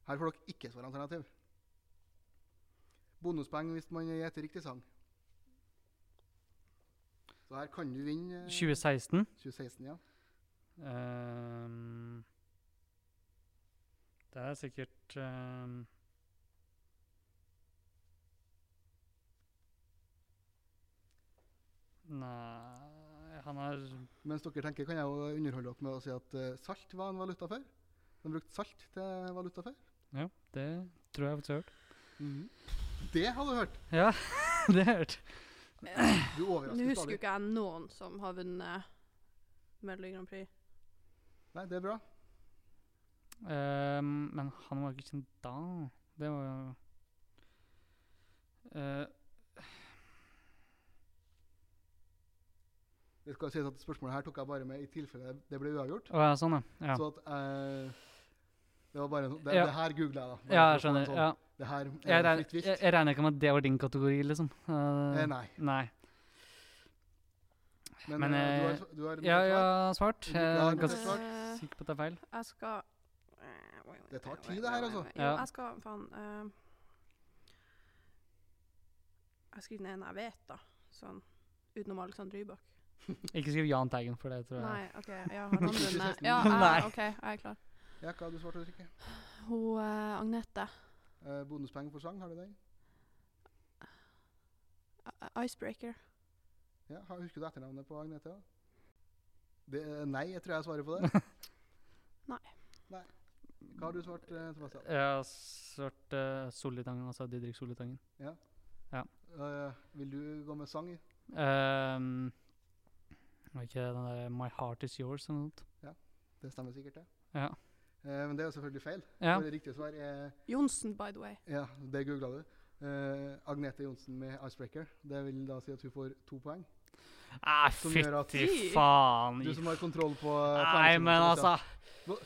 Speaker 2: Her får dere ikke svare alternativ. Bonuspoeng hvis man gjetter riktig sang. Så her kan du vinne eh,
Speaker 3: 2016.
Speaker 2: 2016, ja.
Speaker 3: Ehm, det er sikkert ehm, Nei Han har
Speaker 2: Mens dere tenker, kan jeg jo underholde dere med å si at eh, salt var en valuta før. De brukte salt til valuta før.
Speaker 3: Ja, det tror jeg faktisk jeg har hørt.
Speaker 2: Det har du hørt!
Speaker 3: Ja, det har jeg hørt.
Speaker 2: Du
Speaker 1: Nå
Speaker 2: overrasker
Speaker 1: husker jo
Speaker 2: stadig.
Speaker 1: ikke jeg noen som har vunnet Melodi Grand Prix.
Speaker 2: Nei, det er bra.
Speaker 3: Ehm, men han var ikke kjent da. Det var jo Eh,
Speaker 2: Det skal sies at Spørsmålet her tok jeg bare med i tilfelle det ble uavgjort.
Speaker 3: Å ja, sånn, ja. ja.
Speaker 2: Så at eh, Det var bare en sånn- det,
Speaker 3: Ja.
Speaker 2: det her googla jeg, da. Bare
Speaker 3: Ja,
Speaker 2: for å få
Speaker 3: jeg
Speaker 2: en
Speaker 3: skjønner.
Speaker 2: sånn-
Speaker 3: Ja.
Speaker 2: Det her
Speaker 3: Jeg,
Speaker 2: er
Speaker 3: regner,
Speaker 2: fritt
Speaker 3: jeg,
Speaker 2: vilt.
Speaker 3: jeg regner ikke med at det var din kategori, liksom. Eh,
Speaker 2: Eh, nei.
Speaker 3: nei.
Speaker 2: Men,
Speaker 3: men,
Speaker 2: eh, du
Speaker 3: eh,
Speaker 2: har, du har
Speaker 3: Ja,
Speaker 2: noe
Speaker 3: jeg
Speaker 2: svar?
Speaker 3: har svart.
Speaker 2: Du
Speaker 3: Jeg
Speaker 2: har
Speaker 3: er
Speaker 2: noe
Speaker 3: ganske
Speaker 2: svar?
Speaker 1: Eh,
Speaker 3: sikker på at det er feil.
Speaker 1: Jeg skal
Speaker 2: Det tar tid, det her, altså.
Speaker 1: Jo,
Speaker 3: Ja.
Speaker 1: jeg skal faen eh, Jeg skriver den ene jeg vet, da. Sånn utenom Alexander Rybak.
Speaker 3: Ikke skriv Jahn Teigen for det, tror jeg.
Speaker 1: Nei, OK. Ja, har han vunnet?
Speaker 2: 2016.
Speaker 1: Ja,
Speaker 3: Nei.
Speaker 1: jeg, OK, jeg er klar.
Speaker 2: Ja, hva har du svart, Ulrikke?
Speaker 1: Hun eh, Agnete.
Speaker 2: Uh, bonuspoeng for sang, har du den?
Speaker 1: I- eh, Icebreaker.
Speaker 2: Ja, har- Husker du etternavnet på Agnete? da? Det, eh, nei, jeg tror jeg svarer på det.
Speaker 1: Nei.
Speaker 2: nei. Hva har du svart, eh, Sebastian?
Speaker 3: Jeg har svart eh, Solitangen, altså Didrik Solitangen.
Speaker 2: Eh, vil du gå med sang? i?
Speaker 3: Ehm, Var ikke det den der My Heart Is Yours eller noe sånt?
Speaker 2: Det stemmer sikkert, det.
Speaker 3: Ja.
Speaker 2: Eh, men det er jo selvfølgelig feil.
Speaker 3: Ja.
Speaker 2: For det riktige svar er
Speaker 1: Johnsen, by the way.
Speaker 2: Ja, det googla du. Eh, Agnete Johnsen med Icebreaker. Det vil da si at hun får to poeng.
Speaker 3: Nei,
Speaker 2: Som gjør at-
Speaker 3: Ah, fytti faen!
Speaker 2: Du som har kontroll på eh,
Speaker 3: Nei,
Speaker 2: poengsummen,
Speaker 3: men
Speaker 2: Sebastian.
Speaker 3: altså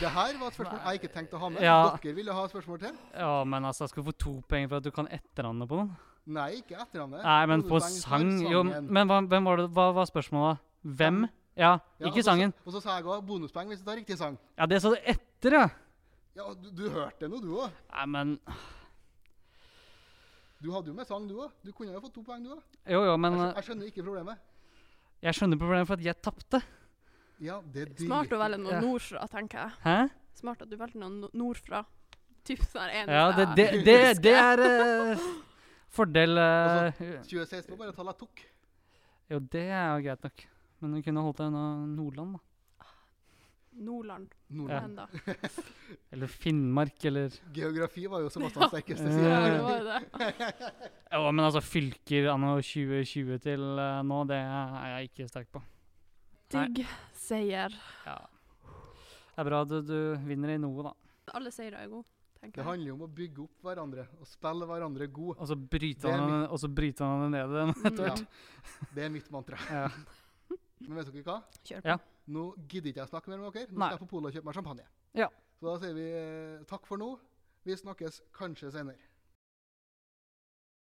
Speaker 2: Det her var et spørsmål jeg ikke tenkte å ha med.
Speaker 3: Ja.
Speaker 2: Dere ville ha et spørsmål til?
Speaker 3: Ja, men altså, skal du få to poeng for at du kan etternavnet på noen?
Speaker 2: Nei, ikke etternavnet.
Speaker 3: Nei, men på
Speaker 2: Hovedpoeng for
Speaker 3: sang Jo,
Speaker 2: sangen.
Speaker 3: men hva, hvem var det, hva var spørsmålet? Hvem? Ja,
Speaker 2: Ja, altså- og
Speaker 3: ikke
Speaker 2: så-
Speaker 3: sangen.
Speaker 2: Og så sa jeg òg bonuspoeng hvis du tar riktig sang.
Speaker 3: Ja, det sa du etter, ja!
Speaker 2: Ja, og du, du hørte noe, du òg.
Speaker 3: Nei, men
Speaker 2: Du hadde jo med sang, du òg. Du kunne jo fått to poeng, du òg.
Speaker 3: Jo, jo, men
Speaker 2: Jeg, skjø-
Speaker 3: eh,
Speaker 2: jeg skjønner ikke problemet.
Speaker 3: jeg skjønner problemet for at jeg tapte.
Speaker 2: Ja, det er
Speaker 1: Smart å
Speaker 2: drit-
Speaker 1: velge noe
Speaker 3: Ja.
Speaker 1: nordfra, tenker jeg.
Speaker 3: Hæ?
Speaker 1: Smart at du valgte noe no- nordfra. Typ sånn eneste
Speaker 3: Ja, det, det,
Speaker 1: jeg
Speaker 3: det,
Speaker 1: husker.
Speaker 3: det er eh, fordel
Speaker 2: Og
Speaker 3: eh,
Speaker 2: 2016 var bare tallet jeg tok.
Speaker 3: Jo, det er jo greit nok. Men du kunne holdt deg unna Nordland, da.
Speaker 1: Nordland
Speaker 2: Nordland.
Speaker 1: enda.
Speaker 3: Eller Finnmark, eller
Speaker 2: Geografi var jo Sebastians sterkeste
Speaker 3: Ja.
Speaker 1: Ja,
Speaker 2: side.
Speaker 1: det var jo det.
Speaker 3: Jo, men altså, fylker anno 2020 til eh, nå, det er jeg ikke sterk på. Nei.
Speaker 1: Digg. seier.
Speaker 3: Ja. Det er bra du, du vinner i noe, da.
Speaker 1: Alle seire er gode, tenker
Speaker 2: Det
Speaker 1: jeg.
Speaker 2: handler jo om å bygge opp hverandre og spille hverandre god.
Speaker 3: Og så bryter
Speaker 2: Det er
Speaker 3: han, henne- og så bryter han henne ned igjen etter
Speaker 2: Ja.
Speaker 3: hvert.
Speaker 2: Det er mitt mantra.
Speaker 3: Ja.
Speaker 2: Men vet dere hva?
Speaker 1: Kjør på.
Speaker 3: Ja.
Speaker 2: Nå gidder ikke jeg snakke mer med dere. Nå
Speaker 3: Nei.
Speaker 2: skal jeg på polet og kjøpe meg champagne.
Speaker 3: Ja.
Speaker 2: Så da sier vi eh, takk for nå. Vi snakkes kanskje senere.